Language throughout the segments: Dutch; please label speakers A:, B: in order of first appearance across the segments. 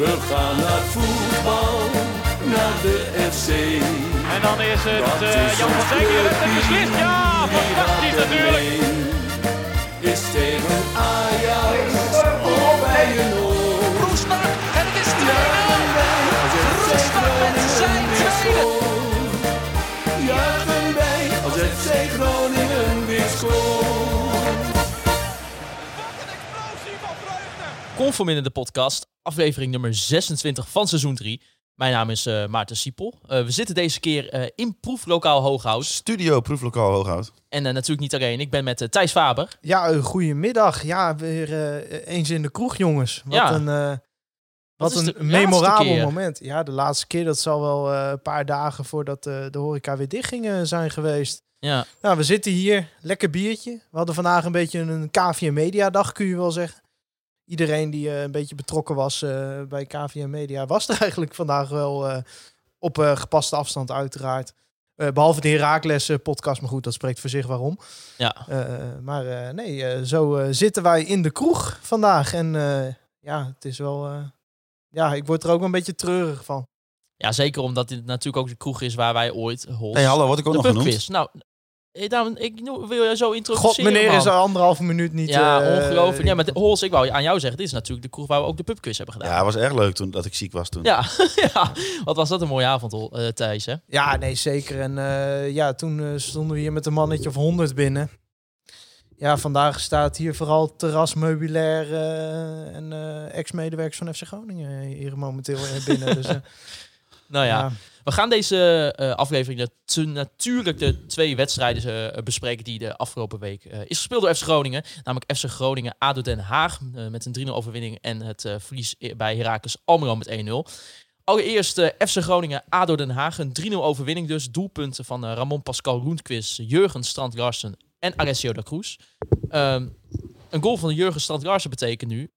A: We gaan naar voetbal, naar de FC.
B: En dan is het
A: Dat
B: eh,
A: is
B: Jan van
A: ons
B: Dijk die redt en
A: clubteam.
B: beslist. Ja, fantastisch
A: Iedereen
B: natuurlijk.
A: Is tegen Ajax of bij een oor.
C: Roestak en het is 2-0. Roestak met zijn tweede.
A: Juichen wij als FC Groningen weer scoort.
D: Conform in de podcast, aflevering nummer 26 van seizoen 3. Mijn naam is eh, Maarten Siepel. Eh, we zitten deze keer eh, in proeflokaal Hooghout.
E: Studio Proeflokaal Hooghout.
D: En eh, natuurlijk niet alleen, ik ben met eh, Thijs Faber.
F: Ja, eh, goedemiddag. Ja, weer eh, eens in de kroeg, jongens. Wat
D: Ja.
F: een, eh, wat
D: is de
F: een
D: laatste
F: memorabel
D: keer?
F: moment. Ja, de laatste keer, dat zal wel eh, een paar dagen voordat eh, de horeca weer dichtging eh, zijn geweest.
D: Ja,
F: Nou, we zitten hier. Lekker biertje. We hadden vandaag een beetje een KVM Media dag, kun je wel zeggen. Iedereen die eh, een beetje betrokken was eh, bij KVM Media was er eigenlijk vandaag wel eh, op eh, gepaste afstand uiteraard. Eh, behalve de Herakles eh, podcast, maar goed, dat spreekt voor zich waarom.
D: ja.
F: Eh, maar eh, nee, eh, zo eh, zitten wij in de kroeg vandaag. En eh, ja, het is wel. eh, ja, ik word er ook wel een beetje treurig van.
D: ja, zeker omdat dit natuurlijk ook de kroeg is waar wij ooit Hols,
E: hey, hallo, wat ik ook
D: de
E: nog genoemd.
D: pubquiz. Nou, eh, daarom, ik no- wil je zo
F: God,
D: introduceren.
F: meneer is
D: man.
F: al anderhalve minuut niet.
D: Ja,
F: eh,
D: ongelooflijk. Ja, maar de- Hols, ik wou aan jou zeggen, dit is natuurlijk de kroeg waar we ook de pubquiz hebben
E: Ja,
D: gedaan.
E: het was erg leuk toen dat ik ziek was toen.
D: Ja, ja. wat was dat een mooie avond, Hol- eh, Thijs, hè?
F: Ja, nee, zeker. En eh, ja, toen eh, stonden we hier met een mannetje of honderd binnen. Ja, vandaag staat hier vooral terrasmeubilair eh, en eh, ex-medewerkers van FC Groningen hier momenteel eh, binnen. Dus, eh,
D: Nou ja.
F: ja.
D: We gaan deze eh, aflevering natu- natuurlijk de twee wedstrijden eh, bespreken die de afgelopen week eh, is gespeeld door FC Groningen. Namelijk FC Groningen, ADO Den Haag eh, met een 3-0 overwinning en het eh, verlies i- bij Heracles Almelo met 1-0. Allereerst eh, FC Groningen, ADO Den Haag, een 3-0 overwinning dus. Doelpunten van eh, Ramon Pascal Roentquist, Jurgen Strand Larsen en Alessio da Cruz. Ehm, een goal van Jurgen Strand Larsen betekent nu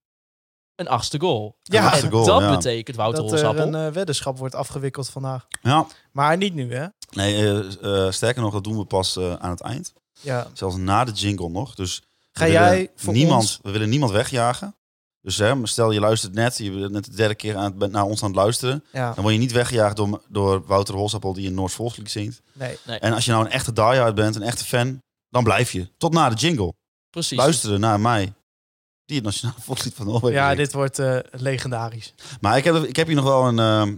D: een achtste goal.
F: Ja,
D: en
E: achtste goal,
D: dat
E: ja.
D: betekent, Wouter
F: dat er
D: Holzappel,
F: een eh, weddenschap wordt afgewikkeld vandaag.
E: Ja.
F: Maar niet nu, hè?
E: Nee, eh, eh, sterker nog, dat doen we pas eh, aan het eind.
F: Ja.
E: Zelfs na de jingle nog. Dus we
F: Ga
E: willen
F: jij voor
E: niemand,
F: ons...
E: We willen niemand wegjagen. Dus hè, stel je luistert net, je bent net de derde keer aan het, bent naar ons aan het luisteren.
F: Ja,
E: Dan word je niet weggejaagd door, door Wouter Holsappel die een Noors Volkslied zingt.
F: nee.
E: En als je nou een echte diehard bent, een echte fan, dan blijf je. Tot na de jingle.
D: precies.
E: Luisteren naar mij. Die het Nationaal Volkslied van Noorwegen
F: Ja,
E: zingt.
F: dit wordt eh, legendarisch.
E: Maar ik heb, ik heb hier nog wel een, ehm,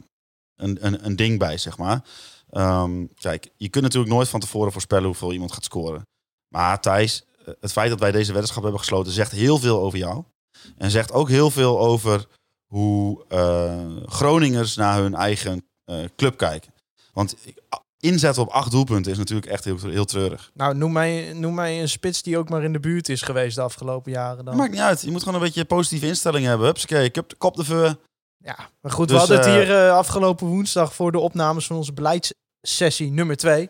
E: een, een, een ding bij, zeg maar. Ehm, kijk, je kunt natuurlijk nooit van tevoren voorspellen hoeveel iemand gaat scoren. Maar Thijs, eh, het feit dat wij deze weddenschap hebben gesloten zegt heel veel over jou. En zegt ook heel veel over hoe eh, Groningers naar hun eigen eh, club kijken. Want a- inzetten op acht doelpunten is natuurlijk echt heel, heel treurig.
F: Nou, noem mij, noem mij een spits die ook maar in de buurt is geweest de afgelopen jaren
E: Dat
F: dan.
E: maakt niet uit. Je moet gewoon een beetje positieve instelling hebben. Hupsakee, ik heb de kop de ver.
F: Ja, maar goed,
E: Dus,
F: we hadden het
E: eh,
F: hier eh, afgelopen woensdag voor de opnames van onze beleidssessie nummer 2.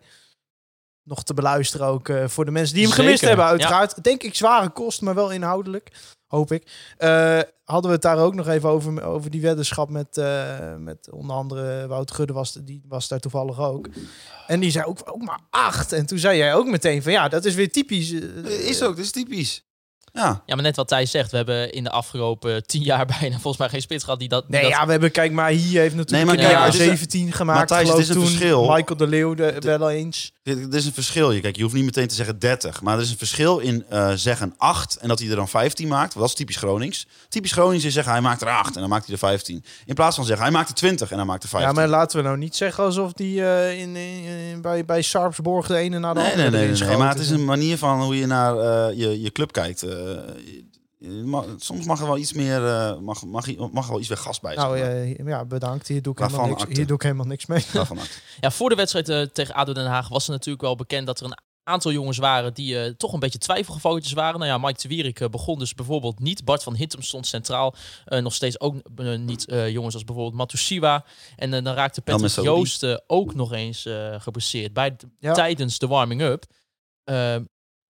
F: Nog te beluisteren ook eh, voor de mensen die hem gemist
D: Zeker,
F: hebben,
D: ja.
F: uiteraard. Denk ik zware kost, maar wel inhoudelijk, hoop ik. Eh, hadden we het daar ook nog even over, over die weddenschap met, eh, met onder andere Wout Gudde, was, die was daar toevallig ook. En die zei ook, ook maar acht. En toen zei jij ook meteen van ja, dat is weer typisch. eh,
E: Is ook, dat is typisch. Ja.
D: Ja, maar net wat Thijs zegt, we hebben in de afgelopen tien jaar bijna volgens mij geen spits gehad die dat. die
F: Nee,
D: dat
F: ja, we hebben, kijk maar, hier heeft natuurlijk
E: Nee, maar
F: in de
D: kijk,
F: jaren
D: het
E: is een-
F: 17 gemaakt.
E: Matthijs, het
F: geloof
E: is een
F: toen
E: verschil.
F: Michael de Leeuw de,
E: De-
F: wel eens.
E: Dit dit is een verschil. Je- Kijk, je hoeft niet meteen te zeggen 30. Maar er is een verschil in eh, zeggen 8 en dat hij er dan 15 maakt. Want dat is typisch Gronings. Typisch Gronings is zeggen hij maakt er 8 en dan maakt hij er 15. In plaats van zeggen hij maakt er 20 en dan maakt er
F: Ja,
E: 15.
F: maar laten we nou niet zeggen alsof die eh, in, in- in- bij, bij Sarpsborg de ene na de
E: nee,
F: andere
E: nee, nee,
F: erin
E: nee, nee.
F: schoten.
E: Maar het is een manier van hoe je naar eh, je, je club kijkt. Eh, je- je mag- soms mag er wel iets meer, eh, mag, mag, je- mag er wel iets meer gas bij.
F: Nou
E: zeg maar.
F: eh, ja, bedankt. Hier doe, ik helemaal
E: Waarvan
F: niks,
E: acte?
F: hier doe ik helemaal niks mee.
E: Daarvan maakt.
D: Ja, voor de wedstrijd eh, tegen ADO Den Haag was er natuurlijk wel bekend dat er een aantal jongens waren die eh, toch een beetje twijfelgevalletjes waren. Nou ja, Mike de Wierik eh, begon dus bijvoorbeeld niet. Bart van Hittem stond centraal. Eh, nog steeds ook eh, niet eh, jongens als bijvoorbeeld Matusiwa. En eh, dan raakte Patrick
E: Elmessaoudi.
D: Joost eh, ook nog eens eh geblesseerd bij,
F: Ja.
D: tijdens de warming-up. Ehm,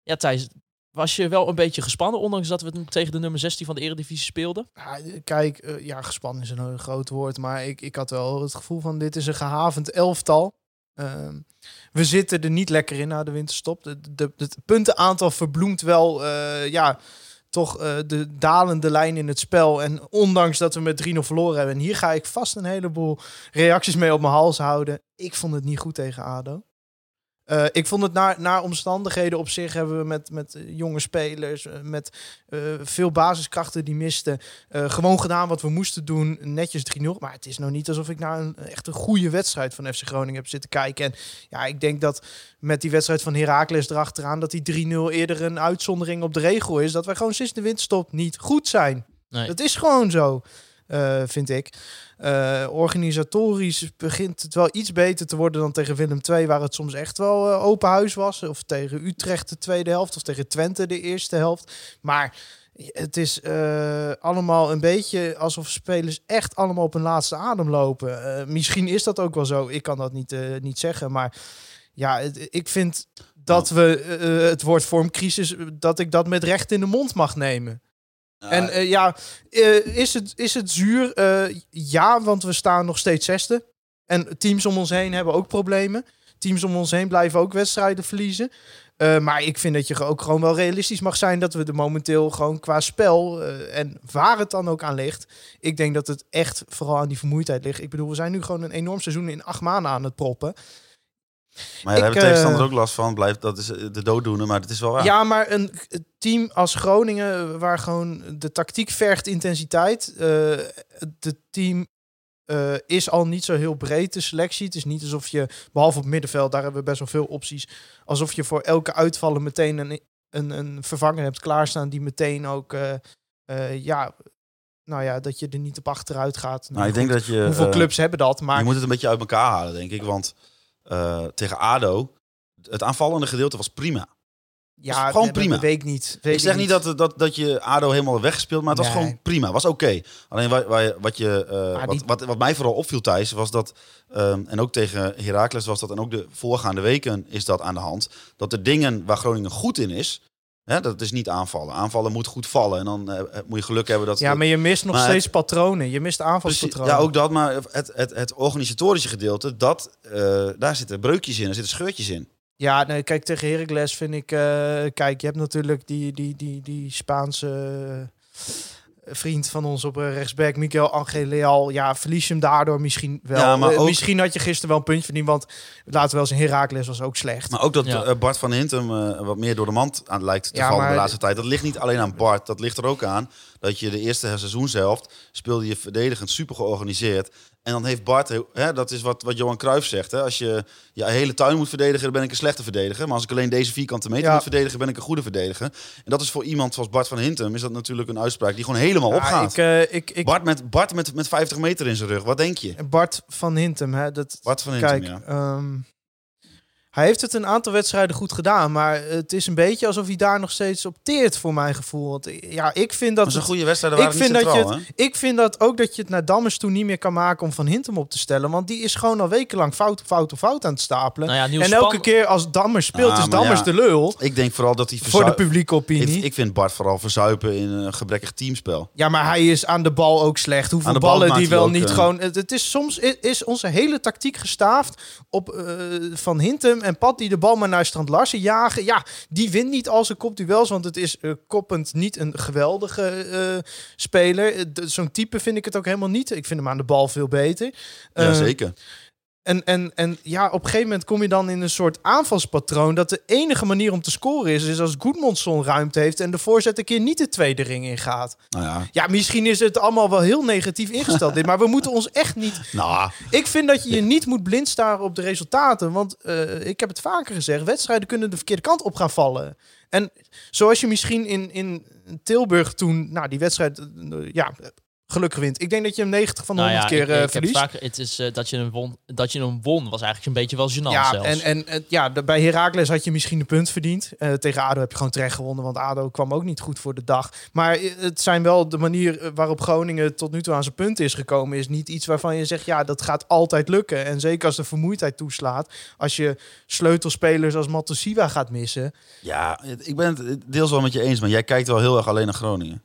D: ja, Thijs, was je wel een beetje gespannen, ondanks dat we tegen de nummer 16 van de Eredivisie speelden?
F: Ja, kijk, eh, ja, gespannen is een eh, groot woord. Maar ik, ik had wel het gevoel van dit is een gehavend elftal. Ehm, we zitten er niet lekker in na de winterstop. De- de- de- Het puntenaantal verbloemt wel eh, ja, toch eh, de dalende lijn in het spel. En ondanks dat we met 3-0 verloren hebben. En hier ga ik vast een heleboel reacties mee op mijn hals houden. Ik vond het niet goed tegen ADO. Eh, ik vond het naar, naar omstandigheden op zich hebben we met, met eh, jonge spelers, eh, met eh, veel basiskrachten die misten, eh, gewoon gedaan wat we moesten doen, netjes 3-0. Maar het is nou niet alsof ik naar een echt een goede wedstrijd van FC Groningen heb zitten kijken. En ja, ik denk dat met die wedstrijd van Heracles erachteraan, dat die 3-0 eerder een uitzondering op de regel is. Dat wij gewoon sinds de winterstop niet goed zijn.
D: Nee.
F: Dat is gewoon zo, eh, vind ik. Eh, organisatorisch begint het wel iets beter te worden dan tegen Willem II, waar het soms echt wel eh, open huis was. Of tegen Utrecht de tweede helft, of tegen Twente de eerste helft. Maar het is eh, allemaal een beetje alsof spelers echt allemaal op hun laatste adem lopen. Eh, misschien is dat ook wel zo, ik kan dat niet, eh, niet zeggen. Maar ja, het- ik vind dat we eh, het woord vormcrisis, eh, dat ik dat met recht in de mond mag nemen.
E: Nou,
F: En eh, ja, eh, is, het, is het zuur? Eh, ja, want we staan nog steeds zesde. En teams om ons heen hebben ook problemen. Teams om ons heen blijven ook wedstrijden verliezen. Eh, maar ik vind dat je ook gewoon wel realistisch mag zijn dat we er momenteel gewoon qua spel eh, en waar het dan ook aan ligt. Ik denk dat het echt vooral aan die vermoeidheid ligt. Ik bedoel, we zijn nu gewoon een enorm seizoen in acht maanden aan het proppen.
E: maar ja, daar
F: ik,
E: hebben tegenstander
F: eh,
E: ook last van. Blijft, dat is eh, de dooddoener, maar het is wel waar.
F: Ja, maar een k- team als Groningen, eh, waar gewoon de tactiek vergt intensiteit. eh, Het team eh, is al niet zo heel breed, de selectie. Het is niet alsof je, behalve op middenveld, daar hebben we best wel veel opties. Alsof je voor elke uitvallen meteen een, een, een vervanger hebt klaarstaan die meteen ook, eh, eh, ja, nou ja, dat je er niet op achteruit gaat.
E: Nou, ik denk dat je...
F: Hoeveel
E: eh,
F: clubs hebben dat? Maar
E: Je moet het een beetje uit elkaar halen, denk ik. Want eh, tegen ADO, het aanvallende gedeelte was prima.
F: ja,
E: gewoon
F: dat
E: prima.
F: Weet ik niet. Weet
E: Ik zeg niet dat, dat, dat je ADO helemaal weggespeeld, maar het was
F: Nee.
E: gewoon prima. was oké. Alleen waar, waar je- wat, je, eh,
F: Maar
E: wat,
F: die-
E: wat, wat mij vooral opviel, Thijs, was dat... ehm, en ook tegen Heracles was dat, en ook de voorgaande weken is dat aan de hand. Dat de dingen waar Groningen goed in is, hè, dat is niet aanvallen. Aanvallen moet goed vallen. En dan eh, moet je geluk hebben dat...
F: Ja, maar je mist nog
E: Maar het-
F: steeds patronen. Je mist
E: Precies,
F: aanvalspatronen.
E: ja, ook dat, maar het, het, het organisatorische gedeelte, dat, eh, daar zitten breukjes in, daar zitten scheurtjes in.
F: Ja, nee, kijk, tegen Heracles vind ik... eh, kijk, je hebt natuurlijk die, die, die, die Spaanse eh, vriend van ons op eh, rechtsback, Miguel Angel Leal. Ja, verlies je hem daardoor misschien wel.
E: Ja, maar
F: Eh,
E: ook-
F: Misschien had je gisteren wel een puntje verdiend, want laten we wel eens, Heracles was ook slecht.
E: Maar ook dat
D: Ja.
E: eh, Bart van Hintem eh, wat meer door de mand aan lijkt te
F: Ja,
E: vallen de
F: maar-
E: laatste tijd. Dat ligt niet alleen aan Bart. Dat ligt er ook aan dat je de eerste seizoenshelft speelde je verdedigend super georganiseerd. En dan heeft Bart, heel- hè, dat is wat, wat Johan Cruijff zegt. Hè? Als je je hele tuin moet verdedigen, dan ben ik een slechte verdediger. Maar als ik alleen deze vierkante meter
F: Ja.
E: moet verdedigen, ben ik een goede verdediger. En dat is voor iemand zoals Bart van Hintem, is dat natuurlijk een uitspraak die gewoon helemaal
F: Ja,
E: opgaat.
F: ik, eh, ik, ik,
E: Bart, met, Bart met, met 50 meter in zijn rug, wat denk je?
F: Bart van Hintem, hè, dat,
E: Bart van Hintem,
F: Kijk,
E: ja.
F: ehm, hij heeft het een aantal wedstrijden goed gedaan, maar het is een beetje alsof hij daar nog steeds op teert voor mijn gevoel. Want, eh, ja, ik vind dat
E: Dat is een
F: het-
E: goede wedstrijd, daar
F: ik
E: waren we
F: vind,
E: niet
F: dat je
E: centraal,
F: het, ik vind dat ook dat je het naar Dammers toe niet meer kan maken om Van Hintem op te stellen. Want die is gewoon al wekenlang fout op fout op fout aan het stapelen.
D: Nou ja, nieuw
F: en
D: span-
F: elke keer als Dammers speelt,
E: Ah,
F: is
E: maar
F: Dammers
E: ja,
F: de lul.
E: hè? Ik denk vooral dat hij
F: Voor de
E: verzui-
F: publieke opinie.
E: Ik, ik vind Bart vooral verzuipen in een gebrekkig teamspel.
F: ja, maar hij is aan de bal ook slecht. Hoeveel
E: Aan de bal
F: ballen
E: maakt
F: die
E: hij
F: wel
E: ook,
F: niet
E: eh,
F: gewoon... Het, het is soms i- is onze hele tactiek gestaafd op eh, Van Hintem en Pat die de bal maar naar Strand Larsen jagen. Ja, die wint niet als een kopduels, want het is eh, koppend niet een geweldige eh, speler. Eh, d- Zo'n type vind ik het ook helemaal niet. Ik vind hem aan de bal veel beter.
E: Ja,
F: Eh,
E: zeker.
F: En, en, en ja, op een gegeven moment kom je dan in een soort aanvalspatroon. Dat de enige manier om te scoren is, is als Goedmondson ruimte heeft en de voorzet een keer niet de tweede ring ingaat.
E: Nou ja.
F: Ja, misschien is het allemaal wel heel negatief ingesteld dit, maar we moeten ons echt niet...
E: Nou,
F: Ik vind dat je je niet moet blind staren op de resultaten, want eh, ik heb het vaker gezegd, wedstrijden kunnen de verkeerde kant op gaan vallen. En zoals je misschien in, in Tilburg toen, nou die wedstrijd, eh, ja, gelukkig wint. Ik denk dat je hem 90 van de
D: Nou ja,
F: 100 keer
D: ik,
F: eh,
D: ik heb
F: verliest.
D: vaak- het is eh, dat, je hem won, dat je hem won, was eigenlijk een beetje wel gênant
F: ja,
D: zelfs.
F: En, en eh, ja, de- bij Heracles had je misschien een punt verdiend. Eh, tegen ADO heb je gewoon terecht gewonnen, want ADO kwam ook niet goed voor de dag. Maar eh, het zijn wel de manier eh, waarop Groningen tot nu toe aan zijn punten is gekomen... is niet iets waarvan je zegt, ja, dat gaat altijd lukken. En zeker als de vermoeidheid toeslaat. Als je sleutelspelers als Matosiwa gaat missen.
E: ja, ik ben het deels wel met je eens, maar jij kijkt wel heel erg alleen naar Groningen.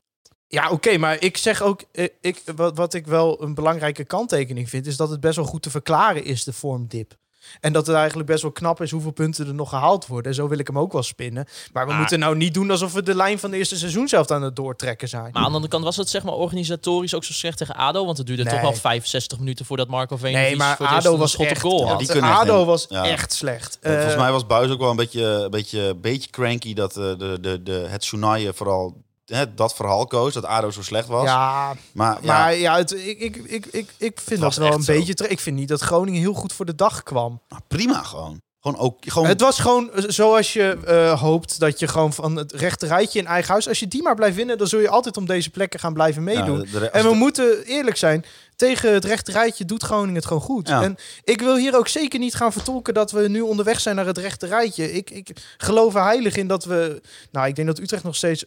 F: Ja, oké, maar ik zeg ook... eh, ik, wat, wat ik wel een belangrijke kanttekening vind... is dat het best wel goed te verklaren is, de vormdip. En dat het eigenlijk best wel knap is hoeveel punten er nog gehaald worden. En zo wil ik hem ook wel spinnen. Maar we
D: Maar-
F: moeten nou niet doen alsof we de lijn van de eerste seizoen zelf aan het doortrekken zijn.
D: Maar aan de andere kant was het zeg maar organisatorisch ook zo slecht tegen ADO. Want het duurde
F: Nee.
D: toch wel 65 minuten voordat Marco Veen
F: nee, maar
D: voor het eerst
F: ADO
D: een
F: was
D: schot op
F: echt...
D: goal
E: Ja,
D: had.
E: die
F: dat-
E: kunnen echt
F: ADO
E: niet.
F: was
E: Ja.
F: echt slecht.
E: Eh, Volgens
F: Eh,
E: mij was Buis ook wel een beetje, een beetje, beetje cranky dat eh, de, de, de, het Tsunaye vooral hè, dat verhaal koos. Dat ADO zo slecht was.
F: Ja,
E: maar, ja,
F: maar ja, het, ik, ik, ik, ik, ik vind
E: was
F: dat wel
E: echt
F: een
E: zo.
F: beetje... tre- Ik vind niet dat Groningen heel goed voor de dag kwam.
E: maar prima gewoon. Gewoon ook. Gewoon,
F: Het was gewoon zoals je eh, hoopt dat je gewoon van het rechte rijtje in eigen huis... Als je die maar blijft winnen, dan zul je altijd om deze plekken gaan blijven
E: ja,
F: meedoen.
E: de- de-
F: En we moeten eerlijk zijn, tegen het rechterrijtje doet Groningen het gewoon goed.
E: Ja.
F: En ik wil hier ook zeker niet gaan vertolken dat we nu onderweg zijn naar het rechterrijtje. Ik, ik geloof er heilig in dat we... Nou, ik denk dat Utrecht nog steeds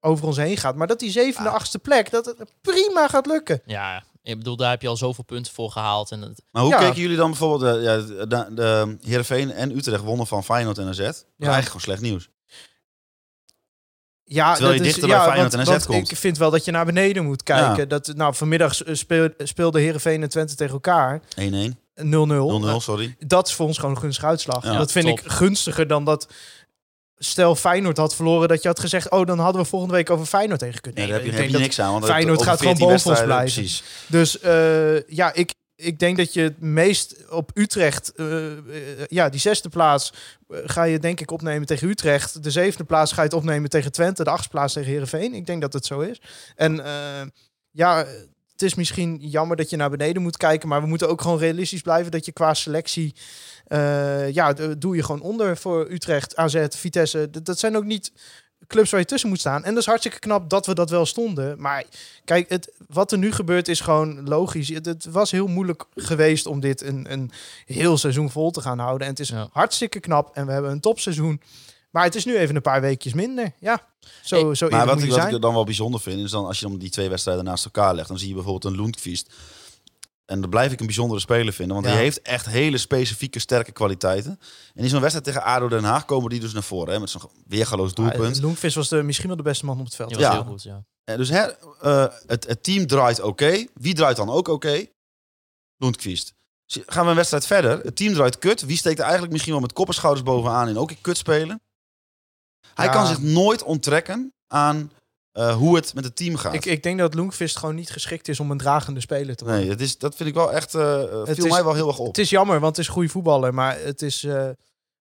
F: over ons heen gaat. Maar dat die zevende,
E: Ah.
F: achtste plek, dat het prima gaat lukken.
D: Ja, ik bedoel, daar heb je al zoveel punten voor gehaald. En het,
E: Maar hoe
F: Ja.
E: keken jullie dan bijvoorbeeld... eh, ja, de, de, de Heerenveen en Utrecht wonnen van Feyenoord en AZ. Dat is eigenlijk gewoon slecht nieuws.
F: Ja,
E: Terwijl je
F: dat is-
E: dichter bij
F: ja,
E: Feyenoord
F: want-
E: en AZ
F: want
E: komt.
F: Ik vind wel dat je naar beneden moet kijken. Dat, nou, vanmiddag eh, speel- speelde Heerenveen en Twente tegen elkaar. eh,
E: 1-1,
F: 0-0.
E: 0-0, sorry.
F: Nou, dat is voor ons gewoon een gunstige uitslag.
E: Ja,
F: dat vind
D: top.
F: ik gunstiger dan dat. Stel Feyenoord had verloren, dat je had gezegd: Oh, dan hadden we volgende week over Feyenoord tegen kunnen.
E: Nee,
F: Nee,
E: daar heb je,
F: ik
E: heb
F: denk
E: je
F: dat-
E: niks aan. Want
F: Feyenoord
E: over
F: gaat gewoon
E: 14
F: boven ons
E: wedstrijden,
F: blijven. Dus
E: Precies.
F: eh, ja, ik, ik denk dat je het meest op Utrecht, eh, eh, ja, die zesde plaats eh, ga je denk ik opnemen tegen Utrecht. De zevende plaats ga je het opnemen tegen Twente. De achtste plaats tegen Herenveen. Ik denk dat het zo is. En eh, ja, het is misschien jammer dat je naar beneden moet kijken, maar we moeten ook gewoon realistisch blijven dat je qua selectie, eh, ja, d- doe je gewoon onder voor Utrecht, AZ, Vitesse. D- dat zijn ook niet clubs waar je tussen moet staan. En dat is hartstikke knap dat we dat wel stonden. Maar Kijk, het, wat er nu gebeurt is gewoon logisch. Het, het was heel moeilijk geweest om dit een, een heel seizoen vol te gaan houden. En het is
D: Ja.
F: hartstikke knap en we hebben een topseizoen. Maar het is nu even een paar weekjes minder. Ja, zo, zo
E: Maar
F: eerlijk
E: wat
F: moet
E: ik,
F: je
E: wat
F: zijn.
E: ik dan wel bijzonder vind, is dan als je dan die twee wedstrijden naast elkaar legt, dan zie je bijvoorbeeld een Lundqvist. En dat blijf ik een bijzondere speler vinden, want
F: Ja.
E: hij heeft echt hele specifieke sterke kwaliteiten. En in zo'n wedstrijd tegen ADO Den Haag komen die dus naar voren, hè, met zo'n weergaloos doelpunt.
F: Ah, Loenqvist was de, misschien wel de beste man op het veld.
D: die was
E: Ja.
D: heel goed, ja.
E: Eh, dus hè, eh, het, het team draait oké. Wie draait dan ook oké? Lundqvist. Z- Gaan we een wedstrijd verder? Het team draait kut. Wie steekt er eigenlijk misschien wel met kop en schouders bovenaan en ook in kut spelen? Hij
F: Ja.
E: kan zich nooit onttrekken aan eh, hoe het met het team gaat.
F: Ik, ik denk dat Loenqvist gewoon niet geschikt is om een dragende speler te worden.
E: Nee, dat, is, dat vind ik wel echt. eh, viel
F: is-
E: mij wel heel erg op.
F: Het is jammer, want het is een goede voetballer. Maar het is eh,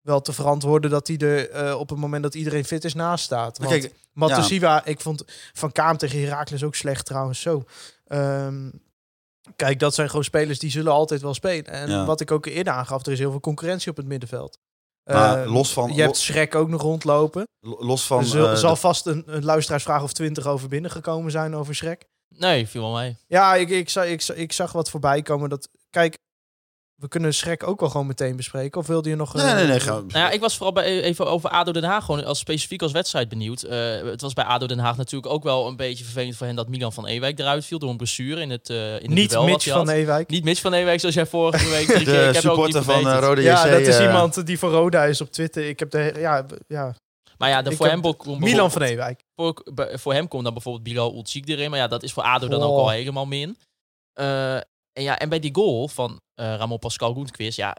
F: wel te verantwoorden dat hij er eh, op het moment dat iedereen fit is naast staat. Want
E: Kijk,
F: Matosiwa, ik vond Van Kaam tegen Heracles ook slecht trouwens. Zo. Ehm, kijk, dat zijn gewoon spelers die zullen altijd wel spelen. En
E: Ja.
F: wat ik ook eerder aangaf, er is heel veel concurrentie op het middenveld.
E: Maar
F: Eh,
E: los van-
F: Je hebt Schrek ook nog rondlopen.
E: Lo- Los van.
F: er zal,
E: eh,
F: zal
E: dat-
F: vast een, een luisteraarsvraag of twintig over binnengekomen zijn over Schrek.
D: Nee, viel wel mee.
F: Ja, ik, ik, zag, ik, zag- ik zag wat voorbij komen. Dat, kijk, we kunnen Schrek ook wel gewoon meteen bespreken. Of wilde je nog... eh,
E: nee, nee, nee. ga-
D: Nou ja, ik was vooral bij, even over ADO Den Haag gewoon als specifiek als wedstrijd benieuwd. Eh, het was bij ADO Den Haag natuurlijk ook wel een beetje vervelend voor hen dat Milan van Ewijk eruit viel door een blessure in het, eh in het
F: niet
D: duel wat
F: Mitch
D: hij had.
F: van Ewijk.
D: Niet Mitch van Ewijk zoals jij vorige week. drie keer- ik
E: de
D: heb ook niet
E: supporter van eh,
D: verbeterd.
E: Rode JC.
F: Ja, dat is
E: eh,
F: iemand die voor Roda is op Twitter. Ik heb de... Ja, b- ja.
D: Maar ja, de,
F: Ik
D: voor,
F: heb
D: hem kon bijvoorbeeld-
F: Milan van Ewijk.
D: voor, bij- voor hem komt dan bijvoorbeeld Bilal Ulcik erin. Maar ja, dat is voor ADO dan ook
F: Goh.
D: al helemaal min. Eh, en, ja, en bij die goal van eh, Ramon Pascal Roentquist, ja,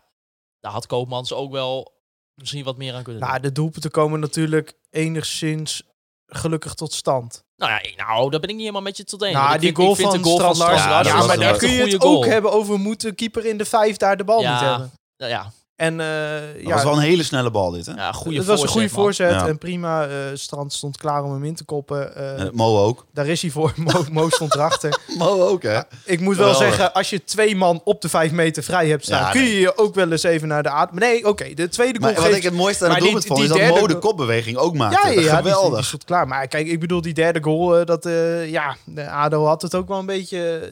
D: daar had Koopmans ook wel misschien wat meer aan kunnen doen.
F: Nou, de doelpunten komen natuurlijk enigszins gelukkig tot stand.
D: Nou ja, nou, daar ben ik niet helemaal met je tot eens.
F: Nou,
D: Want ik
F: die
D: vind- ik
F: goal
D: vind
F: van
D: de goal
F: Strand Larsen-
E: Ja,
D: Strand
E: dat
F: Ja,
E: was
F: maar
E: een
F: daar
E: echt
F: kun je het ook hebben over moet de keeper in de vijf daar de bal
D: Ja.
F: niet hebben.
D: Nou Ja,
F: En eh
E: Dat
F: ja,
E: was wel een hele snelle bal, dit. Hè?
D: ja goede
F: het was een goede voorzet.
E: man. Ja.
F: En prima, eh, Strand stond klaar om hem in te koppen. Eh,
E: Eh, Mo ook.
F: Daar is hij voor. Mo, Mo stond erachter.
E: Mo ook, hè?
F: Ik moet wel
E: Geweldig.
F: zeggen, als je twee man op de vijf meter vrij hebt staan,
E: Ja,
F: kun je
E: nee.
F: je ook wel eens even naar de aard. Nee, oké, de tweede goal
E: Maar wat
F: geeft-
E: ik het mooiste aan
F: maar
E: het doelpunt
F: die-
E: vond,
F: die
E: is dat
F: derde
E: Mo de
F: goal-
E: kopbeweging ook maakte.
F: Ja, ja, ja, die- Die,
E: Geweldig.
F: die stond klaar. Maar kijk, ik bedoel, die derde goal, eh, dat, eh, ja, de ADO had het ook wel een beetje...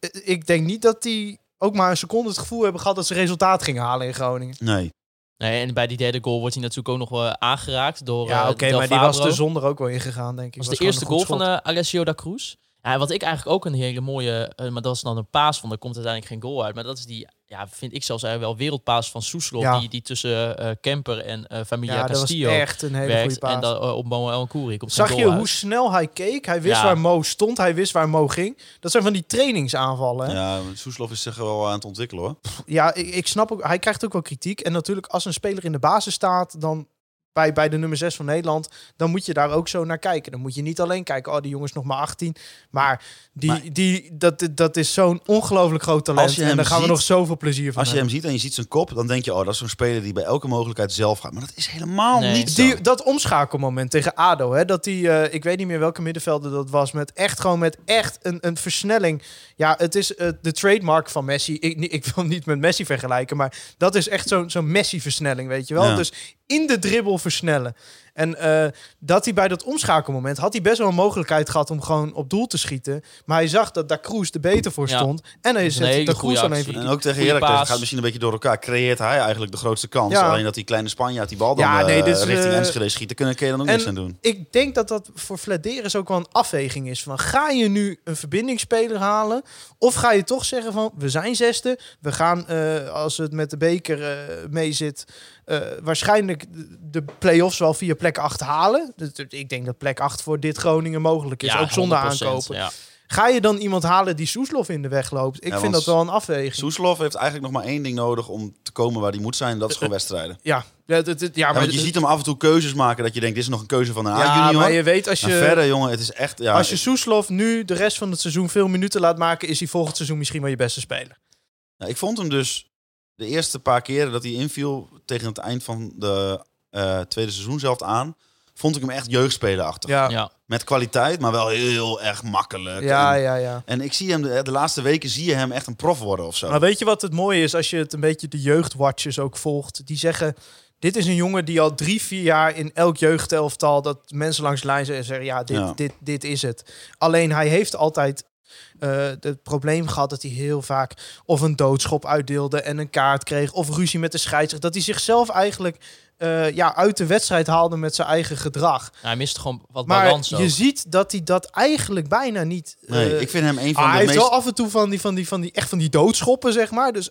F: eh, ik denk niet dat die ook maar een seconde het gevoel hebben gehad dat ze resultaat gingen halen in Groningen.
E: Nee.
D: Nee, en bij die derde goal wordt hij natuurlijk ook nog eh, aangeraakt door
F: ja,
D: eh,
F: oké,
D: Del
F: maar die was dus
D: Fabro.
F: er zonder ook wel ingegaan, denk ik.
D: was,
F: Was
D: de
F: gewoon
D: eerste
F: een
D: goal
F: goed
D: van
F: schot.
D: eh, Alessio da Cruz. Ja, wat ik eigenlijk ook een hele mooie, eh, maar dat is dan een paas van, daar komt uiteindelijk geen goal uit. Maar dat is die, ja, ja, vind ik zelfs eigenlijk wel wereldpaas van Soeslof.
F: Ja.
D: Die, die tussen eh, Kemper en eh Familia
F: Ja, dat was
D: Castillo
F: echt een hele goede
D: werkt.
F: paas.
D: En dan eh, op Moel en Koeri komt
F: Zag
D: geen
F: je
D: goal uit.
F: hoe snel hij keek? Hij wist
D: Ja.
F: waar Mo stond, hij wist waar Mo ging. Dat zijn van die trainingsaanvallen. hè?
E: Ja, Soeslof is zich wel aan het ontwikkelen hoor.
F: Ja, ik, ik snap ook, hij krijgt ook wel kritiek. En natuurlijk, als een speler in de basis staat, dan bij, bij de nummer 6 van Nederland, dan moet je daar ook zo naar kijken. Dan moet je niet alleen kijken, oh, die jongens nog maar 18. Maar, die,
E: Maar-
F: die, dat, dat is zo'n ongelooflijk groot talent.
E: Als je
F: en
E: hem
F: daar gaan we
E: ziet-
F: nog zoveel plezier van
E: Als je
F: hebben.
E: hem ziet en je ziet zijn kop, dan denk je, oh, dat is zo'n speler die bij elke mogelijkheid zelf gaat. Maar dat is helemaal
D: Nee.
E: niet zo.
F: Die, dat omschakelmoment tegen ADO, hè, dat die, eh, ik weet niet meer welke middenvelder dat was, met echt gewoon met echt een, een versnelling. Ja, het is eh, de trademark van Messi. Ik, ni- ik wil hem niet met Messi vergelijken, maar dat is echt zo'n zo'n Messi-versnelling, weet je wel.
E: Ja.
F: Dus in de dribbel versnellen. En eh, dat hij bij dat omschakelmoment had hij best wel een mogelijkheid gehad om gewoon op doel te schieten. Maar hij zag dat Da Cruz er beter voor
D: Ja.
F: stond. En hij
D: is een
F: zet
D: hele
F: Da
D: goede
F: Cruz dan
D: actie.
F: even...
E: En ook tegen
D: Goeie
E: Heracles,
D: paas.
E: het gaat misschien een beetje door elkaar. Creëert hij eigenlijk de grootste kans.
F: Ja.
E: Alleen dat die kleine Spanjaard die bal dan
F: Ja,
E: eh,
F: nee, dit is,
E: richting
F: eh,
E: Enschede schiet. Daar kun je- kun je dan ook niks aan doen.
F: ik denk dat dat voor Vladeris ook wel een afweging is. Van, ga je nu een verbindingsspeler halen? Of ga je toch zeggen van, we zijn zesde. We gaan, eh, als het met de beker eh, mee zit... eh, waarschijnlijk de- de play-offs wel via plek 8 halen. Dus ik denk dat plek 8 voor dit Groningen mogelijk is.
D: Ja,
F: ook zonder
D: 100%,
F: aankopen.
D: Ja.
F: Ga je dan iemand halen die Soeslof in de weg loopt? Ik
E: Ja,
F: vind dat
E: want
F: wel een afweging.
E: Soeslof heeft eigenlijk nog maar één ding nodig om te komen waar hij moet zijn. en Dat is gewoon wedstrijden.
F: ja, ja, dat- dat- ja,
E: Ja,
F: Eh, ah, maar
E: want je
F: dat-
E: ziet hem af en toe keuzes maken dat je denkt, dit is nog een keuze van een
F: ja,
E: A-junior.
F: maar je weet als
E: Maar
F: je...
E: verder, jongen, het is echt... Ja,
F: Als je
E: ik-
F: Soeslof nu de rest van het seizoen veel minuten laat maken, is hij volgend seizoen misschien wel je beste speler.
E: ja, ik vond hem dus de eerste paar keren dat hij inviel tegen het eind van de eh, tweede seizoen zelf aan... vond ik hem echt jeugdspelerachtig.
F: Ja, ja,
D: Ja.
E: Met kwaliteit, maar wel heel erg makkelijk.
F: ja.
E: en,
F: ja,
E: en ik zie hem de, de laatste weken zie je hem echt een prof worden of zo.
F: Maar weet je wat het mooie is als je het een beetje de jeugdwatchers ook volgt? Die zeggen, dit is een jongen die al drie, vier jaar in elk jeugdelftal dat mensen langs de lijn zeggen, ja dit,
E: Ja.
F: dit, dit is het. Alleen hij heeft altijd eh, het probleem gehad dat hij heel vaak of een doodschop uitdeelde en een kaart kreeg of ruzie met de scheidsrechter. Dat hij zichzelf eigenlijk eh, ja, uit de wedstrijd haalde met zijn eigen gedrag.
D: Nou, hij mist gewoon wat
F: Maar
D: balans
F: je
D: ook.
F: ziet dat hij dat eigenlijk bijna niet.
E: Nee,
F: eh,
E: ik vind hem een van
F: ah, hij
E: de
F: heeft
E: meest...
F: wel af en toe van die, van die, van die, echt van die doodschoppen, zeg maar. Dus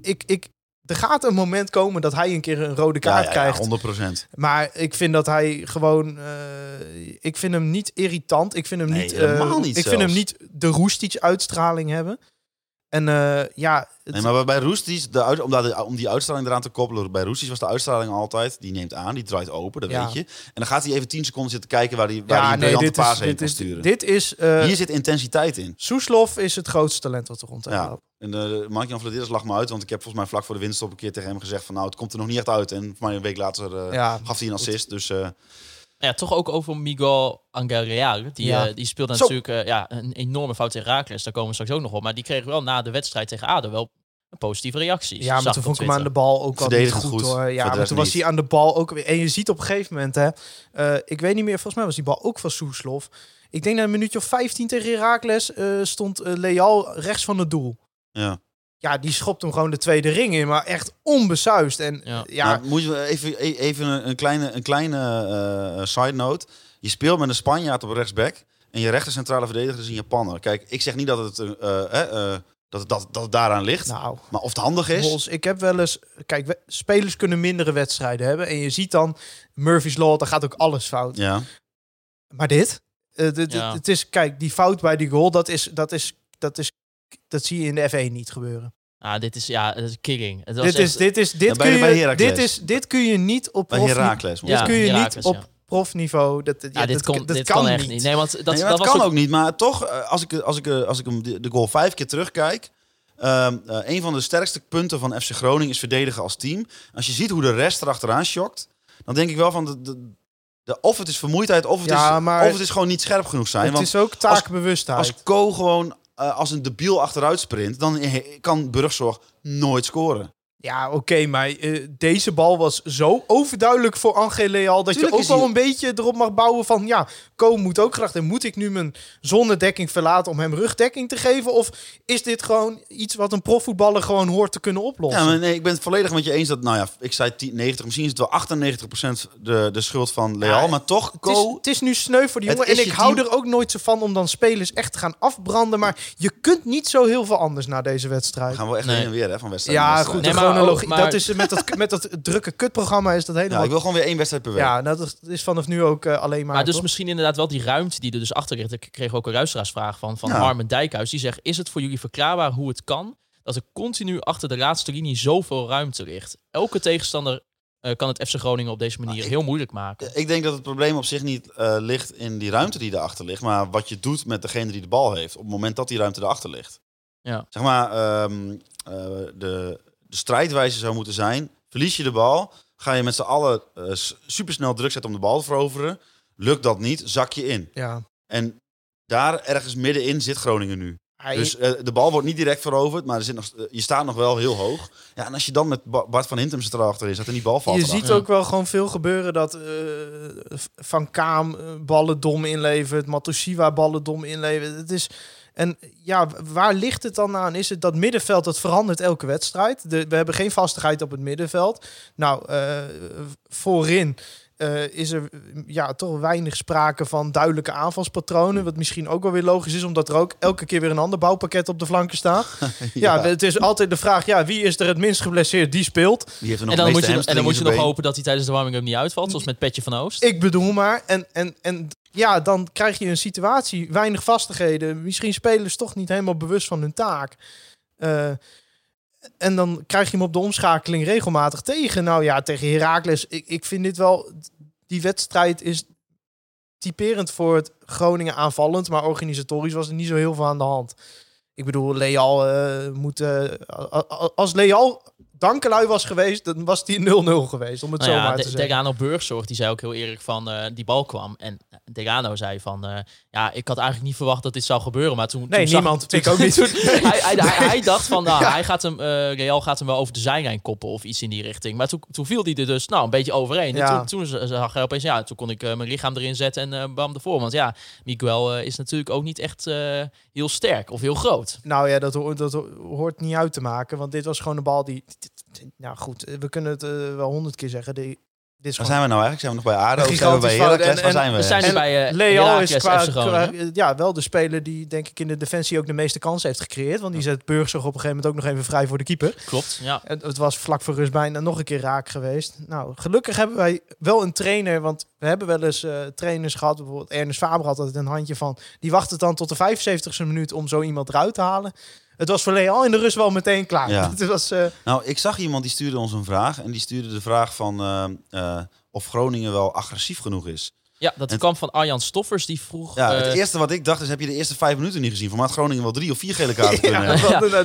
F: ik, ik, er gaat een moment komen dat hij een keer een rode
E: Ja,
F: kaart
E: ja,
F: krijgt.
E: Ja, 100 procent.
F: Maar ik vind dat hij gewoon. eh, ik vind hem niet irritant. Ik vind hem
E: Nee,
F: niet. eh,
E: helemaal niet
F: ik vind hem
E: zelfs.
F: niet de roestic-uitstraling hebben. En eh, ja. het-
E: Nee, maar bij Roesties, de uit, om, daar de- om die uitstraling eraan te koppelen, bij Roesties was de uitstraling altijd, die neemt aan, die draait open, dat
F: Ja.
E: weet je. En dan gaat hij even 10 seconden zitten kijken waar hij, waar hij een briljante
F: dit is,
E: paas heen
F: dit
E: kan
F: is,
E: sturen.
F: dit is eh,
E: Hier zit intensiteit in.
F: Soeslof is het grootste talent wat er rond
E: Ja.
F: loopt.
E: En uh, Mark-Jan Vladeres lag me uit, want ik heb volgens mij vlak voor de winst op een keer tegen hem gezegd van nou, het komt er nog niet echt uit. En volgens mij een week later eh,
F: Ja.
E: gaf hij een assist, dus eh,
D: Ja, toch ook over Miguel Angarial. Die,
F: Ja.
D: eh, die speelde
F: Zo.
D: natuurlijk eh, ja, een enorme fout tegen Raakles. Daar komen we straks ook nog op. Maar die kreeg wel na de wedstrijd tegen ADO wel een positieve reactie.
F: Ja, maar toen vond ik hem aan de bal ook al niet
E: Verdedigend
F: goed,
E: goed,
F: hoor. Ja,
E: verdedigend
F: maar toen was
E: niet.
F: hij aan de bal ook weer. En je ziet op een gegeven moment, hè, eh, ik weet niet meer, volgens mij was die bal ook van Soeslof. Ik denk na een minuutje of 15 tegen Herakles stond eh, Leal rechts van het doel.
E: ja.
F: Ja, die schopt hem gewoon de tweede ring in, maar echt onbesuist. En
D: Ja.
F: eh, ja,
E: Nou, moet je even, e- even een een kleine, een kleine eh, side note. Je speelt met een Spanjaard op rechtsback en je rechter centrale verdediger is een Japanner. Kijk, ik zeg niet dat het, eh, eh, eh, dat, het- dat, dat het daaraan ligt,
F: nou,
E: maar of het handig is.
F: Hols, ik heb wel eens... Kijk, we- spelers kunnen mindere wedstrijden hebben. En je ziet dan, Murphy's Law, dan gaat ook alles fout.
E: Ja.
F: Maar dit? Eh, dit-
D: Ja.
F: Het is, kijk, die fout bij die goal, dat is... Dat is, dat is dat zie je in de F1 niet gebeuren.
D: Ah, dit is, ja, dit is killing. Het was
F: Dit
D: echt-
F: is, dit is, dit
E: Ja, bij-
F: kun
E: bij
F: je,
E: Heracles.
F: dit is, dit kun je niet op
E: Bij
F: profni-
E: Herakles.
F: Dit kun je
D: Heracles,
F: niet
D: ja.
F: op profniveau. Dat, ja,
D: ja, Ah, dit,
F: dat,
D: kon,
F: dat
D: dit kan, echt niet. Nee, want dat,
E: Dat,
D: dat
E: dat
D: was
E: kan
D: ook-
E: ook niet, maar toch, eh, als ik, als ik, eh, als ik hem de de goal vijf keer terugkijk... ehm, eh, een van de sterkste punten van FC Groningen is verdedigen als team. Als je ziet hoe de rest erachteraan shokt, dan denk ik wel van... De, de, de- of het is vermoeidheid, of het,
F: Ja,
E: is,
F: maar-
E: of het is gewoon niet scherp genoeg zijn.
F: Het
E: want
F: is ook taakbewustheid.
E: Als Ko gewoon eh, als een debiel achteruit sprint, dan eh, kan Burgzorg nooit scoren.
F: Ja, oké, maar eh, deze bal was zo overduidelijk voor Angel Leal... dat
E: Tuurlijk
F: je ook
E: is hij-
F: wel een beetje erop mag bouwen van... ja, Ko moet ook graag... en moet ik nu mijn zonnedekking verlaten om hem rugdekking te geven? Of is dit gewoon iets wat een profvoetballer gewoon hoort te kunnen oplossen?
E: Ja, maar nee, ik ben het volledig met je eens dat, nou ja, ik zei 10, 90, misschien is het wel 98 de, de schuld van Leal,
F: Ja,
E: maar toch,
F: Het is,
E: Ko,
F: het is nu sneu voor die
E: Het
F: jongen. En
E: is
F: ik
E: je
F: hou
E: team.
F: er ook nooit zo van om dan spelers echt te gaan afbranden. Maar je kunt niet zo heel veel anders na deze wedstrijd.
E: we gaan wel echt
D: Nee.
E: heen en weer hè, van wedstrijd naar
F: Ja,
E: wedstrijd.
F: goed.
D: Nee,
F: de
D: maar
F: chronologie.
D: ook- maar-
F: Dat is met dat, met dat drukke kutprogramma is dat
E: Ja,
F: helemaal.
E: ik wil gewoon weer één wedstrijd per week.
F: Ja, nou, dat is vanaf nu ook eh, alleen maar.
D: Maar dus
F: toch?
D: misschien inderdaad wel die ruimte die er dus achter ligt. Ik kreeg ook een luisteraarsvraag van, van
E: Ja.
D: Harmen Dijkhuis. Die zegt, is het voor jullie verklaarbaar hoe het kan... dat er continu achter de laatste linie zoveel ruimte ligt? Elke tegenstander eh, kan het FC Groningen op deze manier
E: ik-
D: heel moeilijk maken.
E: Ik denk dat het probleem op zich niet eh, ligt in die ruimte die erachter ligt, maar wat je doet met degene die de bal heeft op het moment dat die ruimte erachter ligt.
D: Ja.
E: Zeg maar, ehm, eh, de, de strijdwijze zou moeten zijn, verlies je de bal, ga je met z'n allen eh, s- supersnel druk zetten om de bal te veroveren. Lukt dat niet, zak je in.
F: Ja.
E: En daar ergens middenin zit Groningen nu.
F: Hij-
E: Dus eh, de bal wordt niet direct veroverd, maar er zit nog, eh, je staat nog wel heel hoog. Ja, en als je dan met Ba- Bart van Hintem centraal achterin staat en die bal valt.
F: je
E: erachter.
F: ziet ook wel gewoon veel gebeuren dat eh, Van Kaam eh, ballen dom inlevert, Matosiwa ballen dom inlevert. Het is, en ja, waar ligt het dan aan? Is het dat middenveld dat verandert elke wedstrijd? De, we hebben geen vastigheid op het middenveld. Nou, eh, voorin eh, is er ja, toch weinig sprake van duidelijke aanvalspatronen. Wat misschien ook wel weer logisch is, omdat er ook elke keer weer een ander bouwpakket op de flanken staat. ja. het is altijd de vraag, ja, wie is er het minst geblesseerd? Die speelt.
E: Die heeft er nog
D: En dan,
E: het
D: moet
E: meeste
D: je, en dan moet je nog
E: hamstring in zijn
D: hopen dat hij tijdens de warming-up niet uitvalt. Zoals met Petje van Oost.
F: Ik bedoel maar. En, en, en ja, dan krijg je een situatie, weinig vastigheden. Misschien spelers toch niet helemaal bewust van hun taak. Eh, en dan krijg je hem op de omschakeling regelmatig tegen. Nou ja, tegen Heracles. Ik, ik vind dit wel... Die wedstrijd is typerend voor het Groningen aanvallend. Maar organisatorisch was er niet zo heel veel aan de hand. Ik bedoel, Leal eh, moet... eh, a- a- als Leal dankelui was geweest, dan was die 0-0 geweest. Om het
D: Nou
F: zo
D: ja,
F: maar te
D: De-
F: zeggen.
D: Degano Burgzorg, die zei ook heel eerlijk van eh, die bal kwam. En Degano zei van, eh, ja, ik had eigenlijk niet verwacht dat dit zou gebeuren. Maar toen,
F: Nee,
D: toen zag-
F: niemand.
D: toen-
F: Ik ook niet.
D: toen- hij, hij, hij, hij dacht van, nou, hij gaat hem, eh, Real gaat hem wel over de zijlijn koppen of iets in die richting. Maar toen, toen viel hij er dus nou, een beetje overheen.
F: Ja.
D: En toen, toen zag hij opeens, ja, toen kon ik eh, mijn lichaam erin zetten en eh, bam ervoor. Want ja, Miguel eh, is natuurlijk ook niet echt eh, heel sterk of heel groot.
F: Nou ja, dat, ho- dat ho- hoort niet uit te maken. Want dit was gewoon een bal die. dit- dit- Nou goed, eh, we kunnen het eh, wel honderd keer zeggen. Die, dit is
E: been. Waar
F: gewoon.
E: zijn we nou eigenlijk? Zijn we nog bij ADO? Of
F: Een
E: zijn we bij
F: gigantisch fout. En-
E: Heracles? Waar
F: en-
E: zijn we?
D: We zijn nu
F: En
D: bij eh
F: Leo is
D: Heracles
F: qua,
D: FC Groningen.
F: qua- eh, ja, wel de speler die denk ik in de defensie ook de meeste kansen heeft gecreëerd. Want die zet Burgzorg op een gegeven moment ook nog even vrij voor de keeper.
D: Klopt, ja.
F: En het was vlak voor rust bijna nog een keer raak geweest. Nou, gelukkig hebben wij wel een trainer. Want we hebben wel eens eh, trainers gehad. Bijvoorbeeld Ernest Faber had altijd een handje van. Die wacht het dan tot de 75ste minuut om zo iemand eruit te halen. Het was voor Leal in de rust wel meteen klaar.
E: Ja.
F: Het was, eh,
E: Nou, ik zag iemand die stuurde ons een vraag. En die stuurde de vraag van eh, eh, of Groningen wel agressief genoeg is.
D: Ja, dat
E: En-
D: kwam van Arjan Stoffers, die vroeg...
E: Ja,
D: eh,
E: het eerste wat ik dacht is, heb je de eerste vijf minuten niet gezien? Van maat Groningen wel drie of vier gele kaarten kunnen hebben.
D: Ja.
F: Want, eh,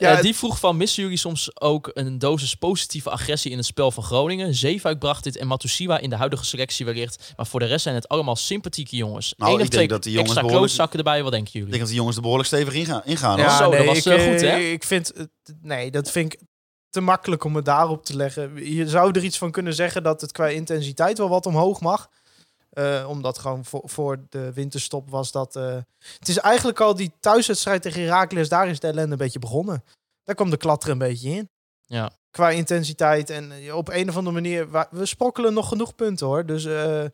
F: Ja,
D: Eh,
F: het-
D: die vroeg van, missen jullie soms ook een dosis positieve agressie in het spel van Groningen? Zeefuik bracht dit en Matusiwa in de huidige selectie wellicht. Maar voor de rest zijn het allemaal sympathieke jongens.
E: Nou,
D: Eén
E: ik
D: of
E: denk
D: twee
E: dat die jongens
D: extra
E: behoorlijk-
D: klootzakken erbij, wat denken
E: Ik
D: jullie?
E: denk dat de jongens er behoorlijk stevig in gaan. ingaan, hoor.
D: Ja. zo, dat was,
F: ik,
D: eh, goed, hè?
F: Ik vind, het- nee, dat vind ik te makkelijk om het daarop te leggen. Je zou er iets van kunnen zeggen dat het qua intensiteit wel wat omhoog mag. Eh, omdat gewoon voor, voor de winterstop was dat... eh, het is eigenlijk al die thuiswedstrijd tegen Heracles, daar is de ellende een beetje begonnen. Daar kwam de klatter een beetje in.
D: Ja.
F: Qua intensiteit en eh, op een of andere manier... wa- We sprokkelen nog genoeg punten, hoor. Dus... eh,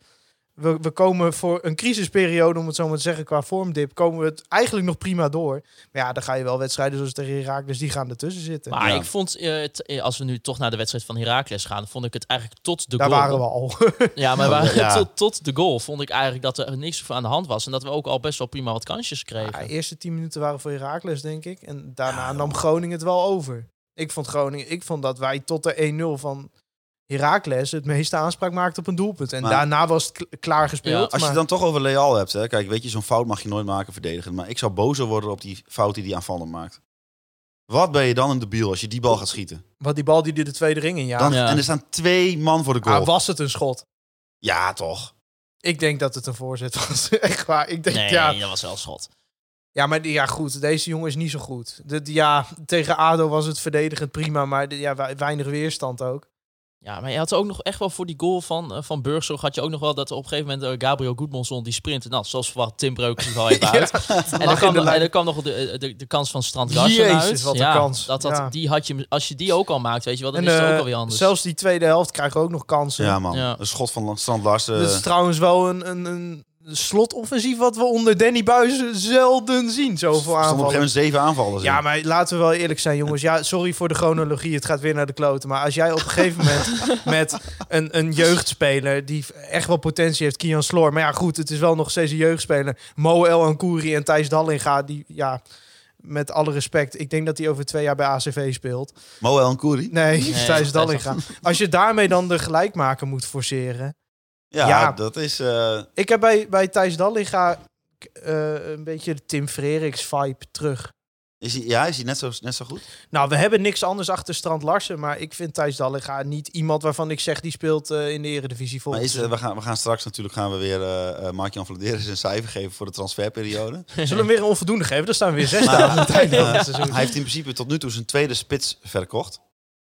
F: we, we komen voor een crisisperiode, om het zo maar te zeggen, qua vormdip, komen we het eigenlijk nog prima door. Maar ja, dan ga je wel wedstrijden zoals tegen Irak, dus die gaan ertussen zitten.
D: Maar
E: Ja.
D: ik vond, eh, het, eh, als we nu toch naar de wedstrijd van Heracles gaan, vond ik het eigenlijk tot de
F: Daar
D: goal.
F: waren we al.
D: Ja, maar we waren
E: Ja.
D: tot, tot de goal vond ik eigenlijk dat er niks voor aan de hand was. En dat we ook al best wel prima wat kansjes kregen.
E: Ah,
F: Ja, de eerste tien minuten waren voor Herakles, denk ik. En daarna nam Groningen het wel over. Ik vond Groningen, ik vond dat wij tot de 1-0 van Herakles het meeste aanspraak maakten op een doelpunt. En
E: Maar-
F: daarna was het kl- klaar gespeeld.
D: Ja,
E: Als je
F: maar-
E: het dan toch over Leal hebt, hè, kijk, weet je, zo'n fout mag je nooit maken verdedigen. Maar ik zou bozer worden op die fout die die aanvallen maakt. Wat ben je dan een debiel als je die bal gaat schieten?
F: Want die bal die de tweede ring in, ja.
E: Dan,
D: Ja.
E: En er staan twee man voor de goal.
F: Ah, was het een schot?
E: ja, toch.
F: Ik denk dat het een voorzet was. Echt waar. Ik denk,
D: nee,
F: ja,
D: dat was wel schot.
F: Ja, maar die- ja, goed. Deze jongen is niet zo goed. De, de- ja, tegen ADO was het verdedigend prima, maar de- ja, we- weinig weerstand ook.
D: Ja, maar je had ook nog echt wel voor die goal van, eh, van Burgzorg had je ook nog wel dat op een gegeven moment eh, Gabriel Goedmonson die sprint. Nou, zoals verwacht, Tim Breukers er al even uit. en, dan
F: lag in
D: kwam,
F: de lijn.
D: en dan kwam nog de, eh, de, de kans van Strand Larsen
F: Jezus,
D: uit.
F: wat een
D: ja,
F: kans.
D: Dat, dat,
F: Ja.
D: die had je, als je die ook al maakt, weet je wel, dan
F: en
D: is het
F: eh,
D: ook alweer anders.
F: zelfs die tweede helft krijgen we ook nog kansen.
E: Ja, man.
D: Ja.
E: Een schot van Strand eh, Larsen.
F: Dat is trouwens wel een, een, een slotoffensief wat we onder Danny Buizen zelden zien.
E: stond op
F: Zoveel
E: een gegeven
F: aanvallen.
E: moment zeven aanvallers in.
F: Ja, maar laten we wel eerlijk zijn, jongens. Ja, sorry voor de chronologie. Het gaat weer naar de kloten. Maar als jij op een gegeven moment met een, een jeugdspeler die echt wel potentie heeft, Kian Sloor. Maar ja, goed, het is wel nog steeds een jeugdspeler. Moel Ankouri en Thijs Dallinga, die ja, met alle respect, ik denk dat hij over twee jaar bij ACV speelt.
E: Moel en Koeri.
F: Nee, Thijs
D: Thijs
F: Dallinga. Als je daarmee dan de gelijkmaker moet forceren.
E: Ja,
F: Ja.
E: dat is... eh,
F: Ik heb bij, bij Thijs Dallinga eh, een beetje de Tim Freriks vibe terug.
E: is hij, ja, is hij net zo, net zo goed?
F: Nou, we hebben niks anders achter Strand Larsen. Maar ik vind Thijs Dallinga niet iemand waarvan ik zeg... die speelt eh, in de eredivisie
E: Maar
F: volgens
E: is, eh, we, gaan, we gaan straks natuurlijk gaan we weer eh eh, Mark-Jan Vladeris een cijfer geven voor de transferperiode.
F: Zullen we hem weer een onvoldoende geven? Dan staan Nou, we weer zes
E: Maar,
F: aan het einde van
E: eh,
F: het seizoen.
E: Hij heeft in principe tot nu toe zijn tweede spits verkocht.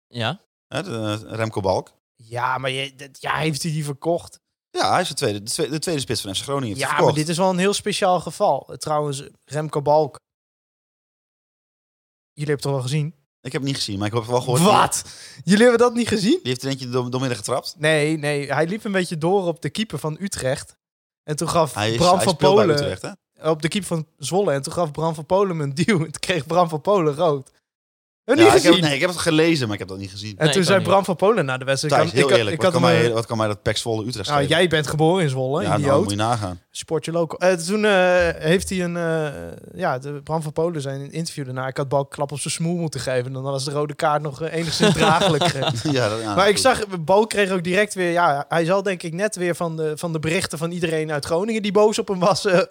D: Ja,
E: Hè, de, eh, Remco Balk.
F: Ja, maar je, dat- ja, heeft hij die verkocht?
E: Ja, hij is de tweede, de tweede, de tweede spits van FC Groningen. heeft hij
F: Ja, maar
E: verkocht.
F: dit is wel een heel speciaal geval. Eh, Trouwens, Remco Balk. Jullie hebben het toch wel gezien?
E: Ik heb het niet gezien, maar ik heb wel gehoord.
F: Wat? Jullie hebben dat niet gezien?
E: Die heeft er eentje door, doormidden getrapt.
F: Nee, nee. Hij liep een beetje door op de keeper van Utrecht. En toen gaf
E: Hij is,
F: Bram
E: hij
F: van
E: speelt bij
F: Polen...
E: Utrecht, hè?
F: op de keep van Zwolle. En toen gaf Bram van Polen hem een duw. En toen kreeg Bram van Polen rood. Heb je
E: Ja,
F: niet
E: ik heb,
F: gezien?
E: nee, ik heb het gelezen, maar ik heb dat niet gezien.
F: En
D: Nee,
F: toen
D: ik
F: zei
D: ook
F: Bram van Polen na de wedstrijd...
E: Thijs, heel
F: ik had,
E: eerlijk,
F: ik
E: wat,
F: had
E: kan
F: hem,
E: mij,
F: eh,
E: wat kan mij dat Pek Zwolle Utrecht
F: nou,
E: schelen?
F: jij bent geboren in Zwolle,
E: ja, nou, moet
F: idioot.
E: je nagaan.
F: Sport je local. Eh, toen eh, heeft hij een... eh, ja, de Bram van Polen zijn een interview daarna. Ik had Balk klap op zijn smoel moeten geven. Dan was de rode kaart nog eh, enigszins draaglijk. eh.
E: ja, dat, ja,
F: Maar ik
E: goed.
F: zag, Balk kreeg ook direct weer... Ja, hij zal denk ik net weer van de, van de berichten van iedereen uit Groningen... die boos op hem was, eh,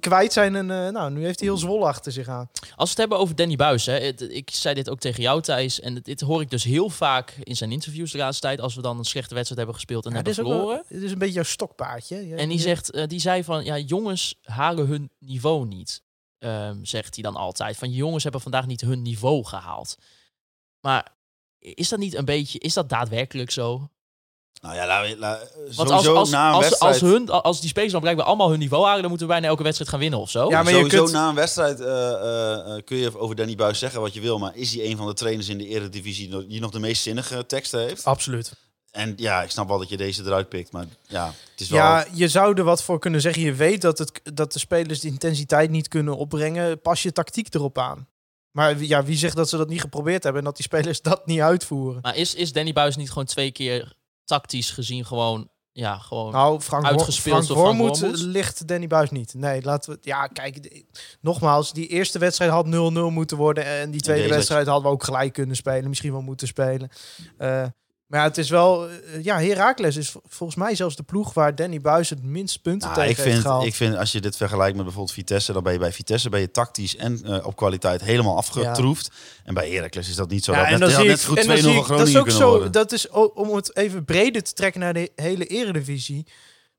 F: kwijt zijn. En eh, nou, nu heeft hij heel Zwolle achter zich aan.
D: als we het hebben over Danny Buis, hè, het- ik zei dit ook tegen jou Thijs, en dit hoor ik dus heel vaak in zijn interviews de laatste tijd, als we dan een slechte wedstrijd hebben gespeeld en
F: Ja,
D: hebben
F: dit is ook wel-
D: verloren.
F: dit is een beetje jouw stokpaardje. Je-
D: En die,
F: je-
D: zegt, eh, die zei van, ja, jongens halen hun niveau niet. Ehm, zegt hij dan altijd. Van, jongens hebben vandaag niet hun niveau gehaald. Maar is dat niet een beetje, is dat daadwerkelijk zo?
E: Nou ja, laat, laat,
D: Want
E: sowieso
D: als, als,
E: na een
D: als,
E: wedstrijd...
D: als, hun, als die spelers dan blijkbaar allemaal hun niveau halen, dan moeten we bijna elke wedstrijd gaan winnen of zo.
F: Ja, maar je
E: sowieso
F: kunt-
E: na een wedstrijd eh, eh, eh, kun je over Danny Buis zeggen wat je wil. Maar is hij een van de trainers in de eredivisie no- die nog de meest zinnige teksten heeft?
F: Absoluut.
E: En ja, ik snap wel dat je deze eruit pikt. Maar ja, het is wel...
F: Ja, je zou er wat voor kunnen zeggen. Je weet dat, het, dat de spelers de intensiteit niet kunnen opbrengen. Pas je tactiek erop aan. Maar wie- ja, wie zegt dat ze dat niet geprobeerd hebben en dat die spelers dat niet uitvoeren?
D: Maar is, is Danny Buis niet gewoon twee keer tactisch gezien gewoon, ja, gewoon...
F: Nou, Frank, Hor-
D: Uitgespeeld
F: Frank
D: door Frank
F: Wormoed
D: Wormoed?
F: ligt Danny Buis niet. Nee, laten we. Ja, kijk, de- nogmaals, die eerste wedstrijd had 0-0 moeten worden. En die tweede
E: deze
F: wedstrijd hadden we ook gelijk kunnen spelen. Misschien wel moeten spelen. Eh, maar ja, het is wel. eh, ja, Herakles is vol- volgens mij zelfs de ploeg waar Danny Buis het minst punten
E: Nou,
F: tegen
E: ik,
F: heeft
E: vind,
F: gehaald.
E: ik vind als je dit vergelijkt met bijvoorbeeld Vitesse, dan ben je bij Vitesse ben je tactisch en eh, op kwaliteit helemaal afgetroefd. En bij Heracles is dat niet zo.
F: Ja,
E: dat
F: en
E: net,
F: dan
E: ja,
F: zie
E: net
F: ik-
E: zo goed 2-0
F: en dan
E: van
F: zie ik-
E: Groningen
F: Dat is ook
E: kunnen
F: zo.
E: worden.
F: Dat is o- om het even breder te trekken naar de hele eredivisie.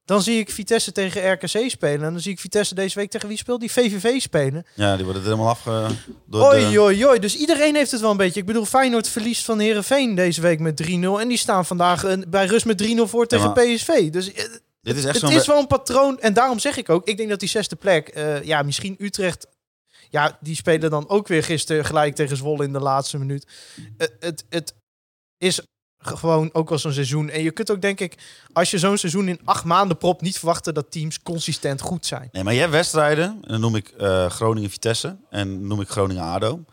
F: Dan zie ik Vitesse tegen RKC spelen. En dan zie ik Vitesse deze week tegen wie speelt? Die VVV spelen.
E: Ja, die worden er helemaal afge... Door
F: Oei,
E: de...
F: oei, oei. Dus iedereen heeft het wel een beetje. Ik bedoel, Feyenoord verliest van Herenveen deze week met 3-0. En die staan vandaag eh, bij rust met 3-0 voor tegen
E: maar-
F: PSV. Dus eh,
E: Dit is echt
F: het
E: zo'n...
F: is
E: Wel...
F: wel een patroon. En daarom zeg ik ook, ik denk dat die zesde plek, eh, ja, misschien Utrecht. Ja, die spelen dan ook weer gisteren gelijk tegen Zwolle in de laatste minuut. Het, het, het is gewoon ook wel zo'n seizoen. En je kunt ook, denk ik, als je zo'n seizoen in acht maanden propt, niet verwachten dat teams consistent goed zijn.
E: Nee, maar je hebt wedstrijden, en dan noem ik eh, Groningen-Vitesse en noem ik Groningen-ADO.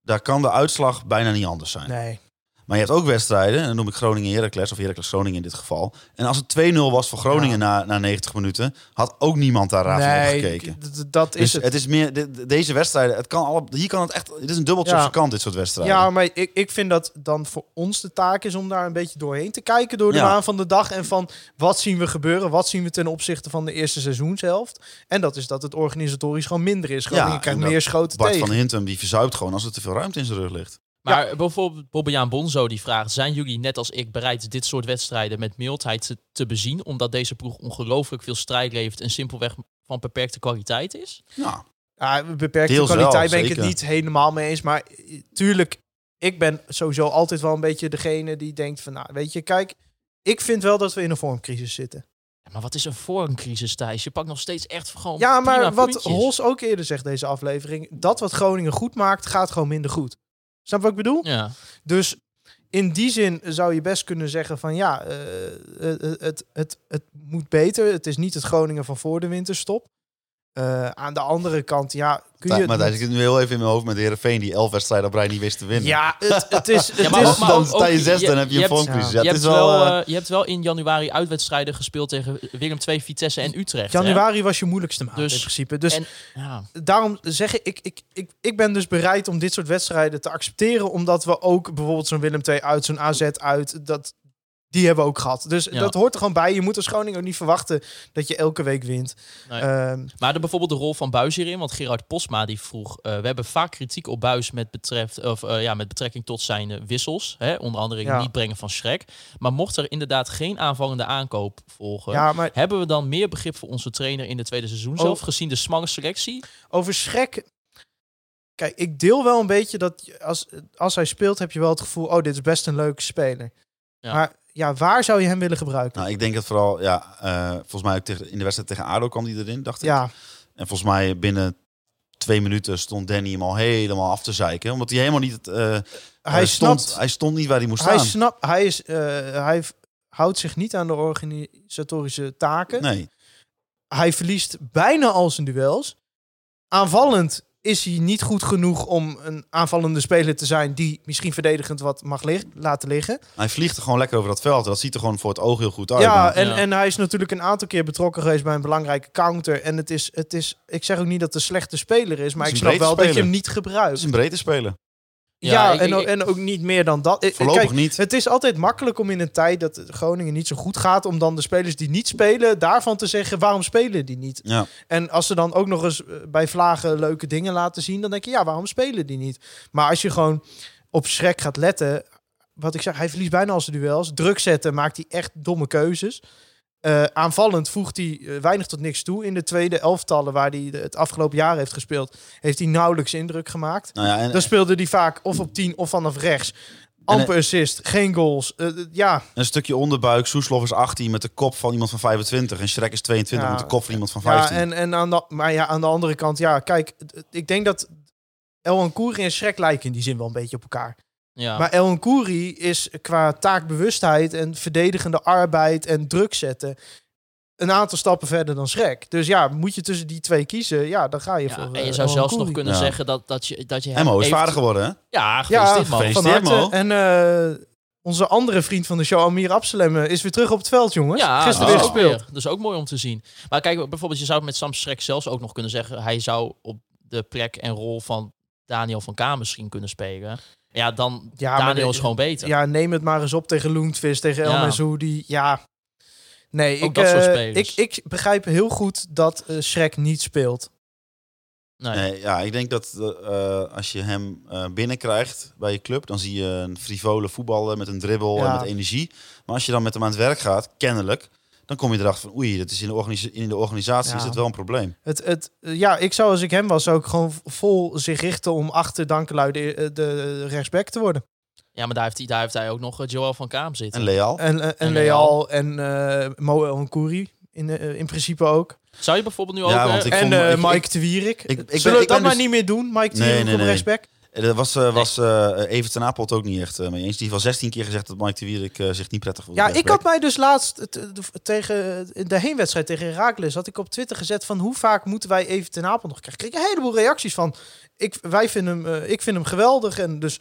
E: Daar kan de uitslag bijna niet anders zijn.
F: Nee.
E: Maar je hebt ook wedstrijden, en dan noem ik Groningen-Heracles, of Heracles-Groningen in dit geval. En als het 2-0 was voor Groningen na, na 90 minuten, had ook niemand daar raar van
F: nee,
E: gekeken.
F: d- d- dat is
E: Dus
F: het.
E: het is meer de- de- deze wedstrijden. Het kan alle, hier kan het echt. Dit is een dubbeltje
F: Ja.
E: op zijn kant. Dit soort wedstrijden.
F: Ja, maar ik, ik vind dat dan voor ons de taak is om daar een beetje doorheen te kijken door de
E: Ja.
F: waan van de dag. En van wat zien we gebeuren, wat zien we ten opzichte van de eerste seizoenshelft. En dat is dat het organisatorisch gewoon minder is. Groningen
E: en
F: krijgt
E: dat
F: meer schoten
E: Bart
F: tegen.
E: van Hintem die verzuipt gewoon als er te veel ruimte in zijn rug ligt.
D: Maar bijvoorbeeld Bobbejaan Bonzo die vraagt: zijn jullie net als ik bereid dit soort wedstrijden met mildheid te, te bezien, omdat deze ploeg ongelooflijk veel strijd levert en simpelweg van beperkte kwaliteit is?
E: Ja.
F: Ja, beperkte
E: Deels
F: kwaliteit ben
E: wel,
F: ik het
E: zeker.
F: niet helemaal mee eens. Maar eh, tuurlijk, ik ben sowieso altijd wel een beetje degene die denkt van... Nou, weet je, kijk, ik vind wel dat we in een vormcrisis zitten.
D: Ja, maar wat is een vormcrisis, Thijs? Je pakt nog steeds echt gewoon
F: Ja, maar
D: prima
F: wat
D: puntjes.
F: Hols ook eerder zegt deze aflevering... dat wat Groningen goed maakt, gaat gewoon minder goed. Snap je wat ik bedoel?
D: Ja.
F: Dus in die zin zou je best kunnen zeggen van ja, eh, het, het, het, het moet beter. Het is niet het Groningen van voor de winterstop. Eh, aan de andere kant, ja, kun je...
E: Tij-
F: het
E: maar Thijs, ik
F: met-
E: zit nu heel even in mijn hoofd met Herenveen die elf wedstrijden op rij niet wist te winnen.
F: ja, het, het is... Het
D: Ja,
E: maar,
F: is
E: ook,
D: ook- maar
E: dan
D: ook-
E: sta je
D: ook-
E: zes,
D: je-
E: dan heb je
D: je
E: een
D: hebt-
E: vormcrisis. Ja,
D: je,
E: het
D: hebt
E: is wel...
D: wel,
E: eh,
D: eh, je hebt wel in januari uitwedstrijden gespeeld tegen Willem II, Vitesse en Utrecht. hè?
F: Januari was je moeilijkste maand
D: Dus-
F: in principe. Dus
D: en- Ja.
F: daarom zeg ik ik, ik, ik, ik ben dus bereid om dit soort wedstrijden te accepteren. Omdat we ook bijvoorbeeld zo'n Willem II uit, zo'n AZ uit, dat, die hebben we ook gehad. Dus
D: Ja.
F: dat hoort er gewoon bij. Je moet als Groningen ook niet verwachten dat je elke week wint.
D: Nee.
F: Ehm,
D: Maar de, bijvoorbeeld de rol van Buis hierin, want Gerard Posma die vroeg, eh, we hebben vaak kritiek op Buis met, betreft, of, eh, ja, met betrekking tot zijn eh, wissels, hè? onder andere het
F: Ja.
D: niet brengen van Schrek. Maar mocht er inderdaad geen aanvallende aankoop volgen,
F: ja, maar
D: hebben we dan meer begrip voor onze trainer in de tweede seizoen zelf,
F: Oh.
D: gezien de smalle selectie?
F: over Schrek. Kijk, ik deel wel een beetje dat je- als, als hij speelt heb je wel het gevoel, oh, dit is best een leuke speler.
D: Ja.
F: Maar ja, waar zou je hem willen gebruiken?
E: nou, ik denk dat vooral, ja, eh, volgens mij ook tegen, in de wedstrijd tegen ADO kwam hij erin, dacht ik.
F: ja,
E: En volgens mij binnen twee minuten stond Danny hem al helemaal af te zeiken. Omdat hij helemaal niet... het, eh,
F: hij
E: stond,
F: snapt,
E: hij stond niet waar hij moest
F: hij
E: staan.
F: snapt, hij is, eh, hij v- houdt zich niet aan de organisatorische taken.
E: Nee,
F: Hij verliest bijna al zijn duels. Aanvallend is hij niet goed genoeg om een aanvallende speler te zijn die misschien verdedigend wat mag lig- laten liggen.
E: hij vliegt er gewoon lekker over dat veld. Dat ziet er gewoon voor het oog heel goed uit.
F: Ja,
E: Maar-
F: en,
D: Ja.
F: en hij is natuurlijk een aantal keer betrokken geweest bij een belangrijke counter. En het is, het is, ik zeg ook niet dat het een slechte speler is, maar
E: Het
F: ik
E: is
F: snap
E: een
F: wel dat
E: brede
F: je
E: speler.
F: hem niet
E: het
F: gebruikt.
E: is een breedte speler.
F: Ja,
D: Ja, ik-
F: en, ook,
D: ik-
F: en ook niet meer dan dat. Ik-
E: Voorlopig
F: Kijk,
E: niet.
F: het is altijd makkelijk om in een tijd dat Groningen niet zo goed gaat, om dan de spelers die niet spelen, daarvan te zeggen waarom spelen die niet.
E: Ja. nou
F: En als ze dan ook nog eens eh, bij vlagen leuke dingen laten zien, dan denk je ja, waarom spelen die niet? Maar als je gewoon op Schrek gaat letten, wat ik zeg, hij verliest bijna al zijn duels. Druk zetten maakt hij echt domme keuzes. Eh, aanvallend voegt hij eh, weinig tot niks toe. In de tweede elftallen waar hij de- het afgelopen jaar heeft gespeeld, heeft hij nauwelijks indruk gemaakt.
E: Nou ja, en,
F: Dan speelde hij vaak of op 10 of vanaf rechts. Amper assist, geen goals. Eh, eh, ja,
E: een stukje onderbuik. Soeslof is 18 met de kop van iemand van 25. En Schrek is 22
F: Ja.
E: met de kop van iemand van
F: ja
E: 15.
F: en, en aan de, maar ja, aan de andere kant, ja, kijk, het- het- ik denk dat Elwan Koeri en Schrek lijken in die zin wel een beetje op elkaar.
D: Ja.
F: Maar Elwan Koeri is qua taakbewustheid en verdedigende arbeid en druk zetten een aantal stappen verder dan Schrek. Dus ja, moet je tussen die twee kiezen, ja, dan ga je
D: Ja,
F: voor.
D: en je
F: eh,
D: zou
F: Elwan
D: zelfs nog
F: Koeri.
D: kunnen
E: Ja.
D: zeggen dat, dat je, dat je hem
E: Emmo is
D: even-
E: vader geworden, hè?
D: Ja,
F: Ja,
D: gefeliciteerd man.
F: van
E: Gefeliciteerd,
F: harte.
E: Mo.
F: En eh, onze andere vriend van de show, Amir Absalem, eh, is weer terug op het veld, jongens.
D: Ja,
F: Gisteren
D: dat
F: weer
D: is
F: gespeeld.
D: ook weer. Dat is ook mooi om te zien. Maar kijk, bijvoorbeeld, je zou met Sam Schrek zelfs ook nog kunnen zeggen... hij zou op de plek en rol van Daniel van Kamer misschien kunnen spelen. Ja, dan
F: Ja, maar
D: Daniel
F: de-
D: is gewoon beter.
F: Ja, neem het maar eens op tegen Loentvis, tegen El
D: Ja.
F: Mazoudi. Ja. Nee,
D: Ook
F: ik,
D: dat soort
F: eh,
D: spelers.
F: ik, ik begrijp heel goed dat eh Schrek niet speelt.
D: Nee.
E: Nee, ja, ik denk dat eh, als je hem eh, binnenkrijgt bij je club, dan zie je een frivole voetballer met een dribbel
F: Ja.
E: en met energie. Maar als je dan met hem aan het werk gaat, kennelijk, dan kom je erachter van oei, dat is in, de organisa- in de organisatie
F: Ja.
E: is dat wel een probleem.
F: Het, het, eh, ja, ik zou als ik hem was ook gewoon vol zich richten om achter Dankelui de, eh, de rechtsback te worden.
D: Ja, maar daar heeft hij, daar heeft hij ook nog eh, Joel van Kaam zitten.
E: En Leal.
F: En, eh, en,
D: En
F: Leal en eh Mo El in, eh, in principe ook.
D: Zou je bijvoorbeeld nu
E: Ja,
D: ook...
E: want
D: eh,
E: Ik
F: en
E: vond-
F: eh,
E: ik- ik-
F: Mike de Wierik.
E: ik- ik ben-
F: Zullen we
E: ik
F: dat
E: ben
F: maar
E: dus-
F: niet meer doen, Mike de
E: Nee,
F: Wierik
E: nee,
F: op
E: nee.
F: rechtsback?
E: Er was, eh was eh even ten Apel het ook niet echt eh, mee eens. Die heeft al 16 keer gezegd dat Mike de Wierik eh, zich niet prettig voelde.
F: Ja,
E: bij de
F: ik had mij dus laatst eh, t- de- tegen eh, de heenwedstrijd tegen Heracles had ik op Twitter gezet van hoe vaak moeten wij even ten Apel nog krijgen. Ik kreeg een heleboel reacties van ik, wij vinden hem, eh, ik vind hem geweldig en dus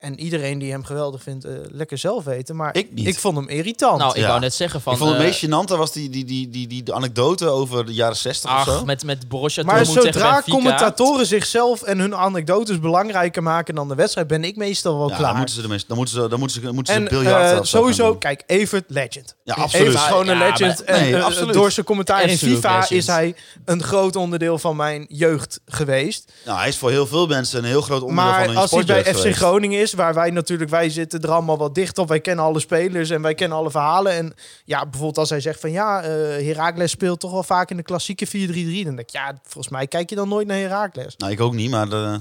F: en iedereen die hem geweldig vindt eh, lekker zelf weten, maar
E: Ik niet.
F: vond hem irritant.
D: nou, ik
E: Ja.
D: wou net zeggen van...
E: ik vond het
D: eh,
E: meest gênante was die, die, die, die, die, de anekdote over de jaren 60 of
D: Ach,
E: zo.
D: met, met Borussia
F: maar
D: Dortmund tegen
F: zodra
D: Benfica.
F: commentatoren zichzelf en hun anekdotes belangrijker maken dan de wedstrijd, ben ik meestal wel
E: Ja, dan
F: klaar.
E: moeten ze de mensen, dan moeten ze, dan moeten ze, dan moeten ze
F: en
E: een biljart
F: eh,
E: of zo gaan
F: sowieso,
E: doen.
F: kijk, Evert legend.
E: Ja, absoluut.
F: Even gewoon een
D: Ja,
F: legend.
E: maar-
F: en,
E: Nee,
F: eh,
E: absoluut.
F: Door zijn commentaar in
D: Absolute
F: FIFA
D: legend.
F: is hij een groot onderdeel van mijn jeugd geweest.
E: Nou, hij is voor heel veel mensen een heel groot onderdeel van
F: Maar
E: hun
F: als hij bij
E: sportjeugd
F: FC
E: geweest.
F: Groningen is, is. Waar wij natuurlijk, wij zitten er allemaal wat dicht op. Wij kennen alle spelers en wij kennen alle verhalen. En ja, bijvoorbeeld als hij zegt van ja, eh Herakles speelt toch wel vaak in de klassieke 4-3-3. Dan denk ik, ja, volgens mij kijk je dan nooit naar Herakles.
E: Nou, ik ook niet, maar... De,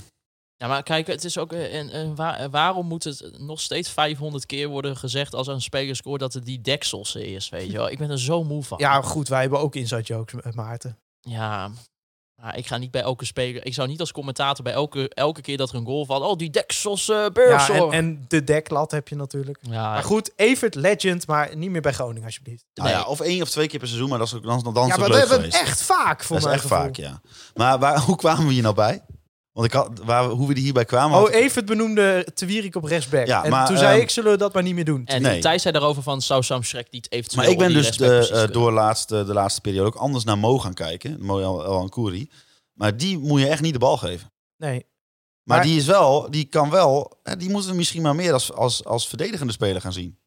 D: Ja, maar kijk, het is ook. eh, En, en waar- eh, waarom moet het nog steeds 500 keer worden gezegd als een speler scoort dat het die dekselse is? Weet je wel, ik ben er zo moe van.
F: Ja, goed, wij hebben ook inside jokes met Maarten.
D: Ja, maar ik ga niet bij elke speler. Ik zou niet als commentator bij elke, elke keer dat er een goal valt. Oh, die deksels eh
F: Ja,
D: beurs.
F: en,
D: hoor.
F: en de deklat heb je natuurlijk.
D: ja,
F: Maar goed, Evert legend, maar niet meer bij Groningen alsjeblieft.
E: nou
D: nee.
E: ja, of één of twee keer per seizoen, maar dat is ook, dan, dan is
F: Ja,
E: het
F: maar
E: ook
F: we
E: leuk
F: hebben hem
E: geweest.
F: echt vaak voor
E: dat is
F: mijn
E: echt
F: gevoel.
E: vaak, ja. Maar waar, hoe kwamen we hier nou bij? Want ik had, waar, we- hoe we die hierbij kwamen... had
F: Oh,
E: ik-
F: Evert benoemde Tewierik op rechtsback.
E: Ja,
F: en
E: maar,
F: toen zei
E: ehm,
F: ik, zullen we dat maar niet meer doen.
D: en
E: nee.
D: Thijs zei daarover van zou Sam Schrek niet eventueel.
E: Maar ik ben
D: die
E: dus
D: rechtsback
E: de,
D: precies
E: eh,
D: kunnen?
E: door laatste, de laatste periode ook anders naar Mo gaan kijken. Mo El, El Ancoury. Maar die moet je echt niet de bal geven.
F: Nee,
E: Maar,
F: Maar-
E: die is wel, die kan wel, hè, die moeten we misschien maar meer als, als, als verdedigende speler gaan zien.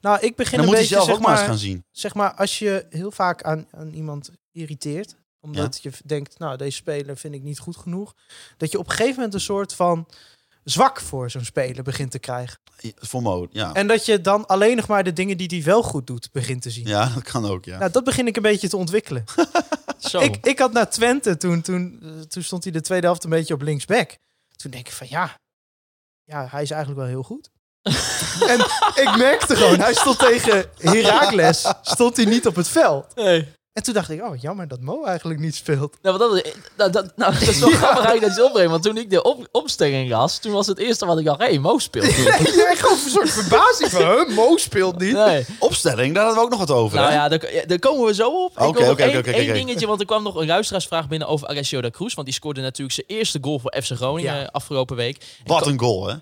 F: nou, ik
E: En
F: begin
E: dan
F: een
E: moet hij
F: beetje,
E: zelf
F: zeg
E: ook maar eens
F: maar,
E: gaan zien.
F: zeg maar, als je heel vaak aan, aan iemand irriteert, omdat je denkt, nou, deze speler vind ik niet goed genoeg, dat je op een gegeven moment een soort van zwak voor zo'n speler begint te krijgen.
E: Voor Mo, ja.
F: En dat je dan alleen nog maar de dingen die hij wel goed doet, begint te zien.
E: Ja, dat kan ook, ja.
F: Nou, dat begin ik een beetje te ontwikkelen.
D: Zo.
F: Ik, ik had naar Twente toen, toen, eh, toen stond hij de tweede helft een beetje op linksback. Toen denk ik van ja, ja hij is eigenlijk wel heel goed. en ik merkte gewoon, hij stond tegen Herakles, stond hij niet op het veld.
D: Nee.
F: En toen dacht ik, oh jammer dat Mo eigenlijk niet speelt.
D: Nou, want dat, is- nou, dat, nou, dat is wel grappig eigenlijk dat je het opbrengt. Want toen ik de op, opstelling las, toen was het eerste wat ik dacht, hé, hey, Mo speelt. niet.
F: Je echt gewoon een soort verbazing van, huh, Mo speelt niet.
D: Nee.
E: Opstelling, daar hadden we ook nog wat over.
D: Nou
E: hè?
D: ja, daar, ja, daar komen we zo op. Ik
E: Oké,
D: wil nog
E: oké,
D: één-
E: oké, oké,
D: één
E: oké.
D: dingetje, want er kwam nog een luisteraarsvraag binnen over Alessio da Cruz. Want die scoorde natuurlijk zijn eerste goal voor FC Groningen
F: Ja.
D: afgelopen week. En
E: Wat
D: ko-
E: een goal, hè?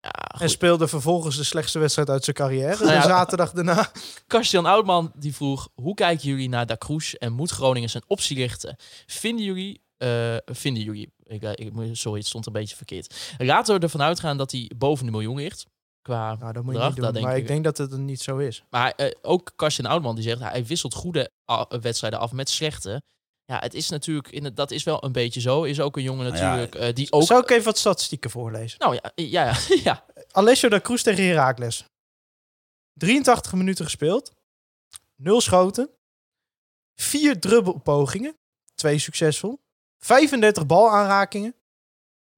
D: Ja, goed.
F: En speelde vervolgens de slechtste wedstrijd uit zijn carrière.
D: Nou ja.
F: De zaterdag daarna.
D: Karstian Oudman die vroeg: hoe kijken jullie naar Da Cruz en moet Groningen zijn optie richten? Vinden jullie. eh, vinden jullie. Ik, eh, ik, moet- sorry, het stond een beetje verkeerd. Laten we ervan uitgaan dat hij boven de miljoen ligt. Qua
F: Nou, dat moet je
D: bedrag,
F: niet doen,
D: dat denk
F: maar
D: ik.
F: ik denk dat het er niet zo is.
D: Maar eh, ook Karsten Oudman die zegt, hij wisselt goede a- wedstrijden af met slechte. Ja, het is natuurlijk, in het- dat is wel een beetje zo. Is ook een jongen
E: Nou ja,
D: natuurlijk eh, die ook...
F: Zou ik even wat statistieken voorlezen?
D: Nou ja, ja, ja, ja.
F: Alessio da Cruz tegen Heracles. 83 minuten gespeeld. 0 schoten. 4 drubbelpogingen. 2 succesvol. 35 balaanrakingen.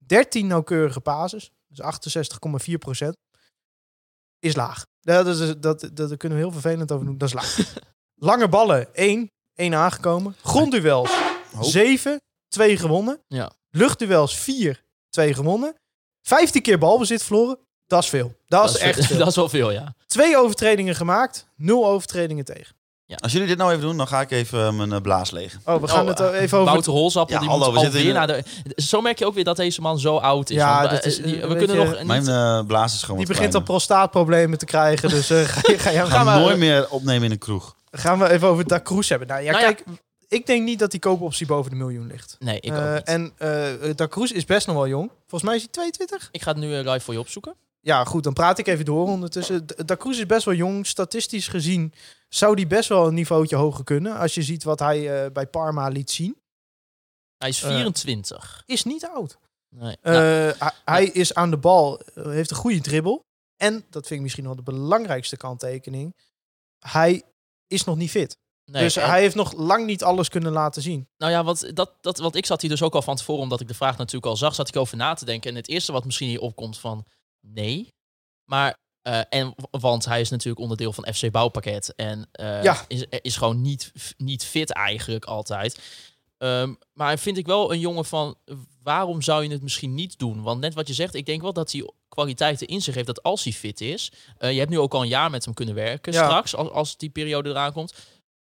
F: 13 nauwkeurige pases. Dus 68,4 Is laag. Ja, Dat, is, dat, dat, daar kunnen we heel vervelend over doen. Dat is laag. Lange ballen. 1. 1 aangekomen. Grondduels.
E: Oh.
F: 7. 2 gewonnen.
D: Ja.
F: Luchtduels. 4. 2 gewonnen. 15 keer balbezit verloren. Dat is veel. Dat, is echt veel.
D: dat is wel veel, ja.
F: Twee overtredingen gemaakt, nul overtredingen tegen.
E: Als jullie dit nou even doen, dan ga ik even eh, mijn eh, blaas leeg.
F: Oh, we gaan
D: Nou,
F: het er even over.
D: Wouter Holzappel,
E: Ja,
D: die
E: hallo,
D: moet
E: we zitten
D: alweer
E: in
D: naar de... Zo merk je ook weer dat deze man zo oud is.
F: Ja,
D: want, eh,
F: dat is, eh,
D: die- we
F: weet
D: kunnen
F: je,
D: nog...
E: Mijn
D: niet-
E: eh, blaas is gewoon
F: Die
E: wat
F: begint al
E: kleiner.
F: prostaatproblemen te krijgen. Dus eh, ga, je- ga je-
E: Ga
F: gaan,
E: nooit
F: we,
E: meer opnemen in een kroeg.
F: gaan we even over Da Cruz hebben. Nou ja,
D: Nou ja.
F: kijk, ik denk niet dat die koopoptie boven de miljoen ligt.
D: Nee, ik
F: Eh,
D: ook niet.
F: En eh Da Cruz is best nog wel jong. Volgens mij is hij 22.
D: Ik ga het nu eh, live voor je opzoeken.
F: Ja, goed, dan praat ik even door ondertussen. D- Da Cruz is best wel jong. Statistisch gezien zou die best wel een niveautje hoger kunnen. Als je ziet wat hij eh, bij Parma liet zien.
D: Hij is
F: Eh.
D: 24.
F: Is niet oud.
D: Nee.
F: Eh,
D: Nou,
F: hij- hij is aan de bal, eh, heeft een goede dribbel. En dat vind ik misschien wel de belangrijkste kanttekening. Hij is nog niet fit.
D: nee,
F: dus
D: eh,
F: hij heeft nog lang niet alles kunnen laten zien.
D: Nou ja, want, dat, dat, want ik zat hier dus ook al van tevoren, omdat ik de vraag natuurlijk al zag, zat ik over na te denken. En het eerste wat misschien hier opkomt van nee. Maar, eh, en, want hij is natuurlijk onderdeel van FC Bouwpakket. En eh,
F: Ja.
D: is, is gewoon niet, niet fit eigenlijk altijd. Ehm, maar vind ik wel een jongen van, waarom zou je het misschien niet doen? Want net wat je zegt, ik denk wel dat hij kwaliteiten in zich heeft dat als hij fit is. eh, je hebt nu ook al een jaar met hem kunnen werken
F: Ja.
D: straks, als, als die periode eraan komt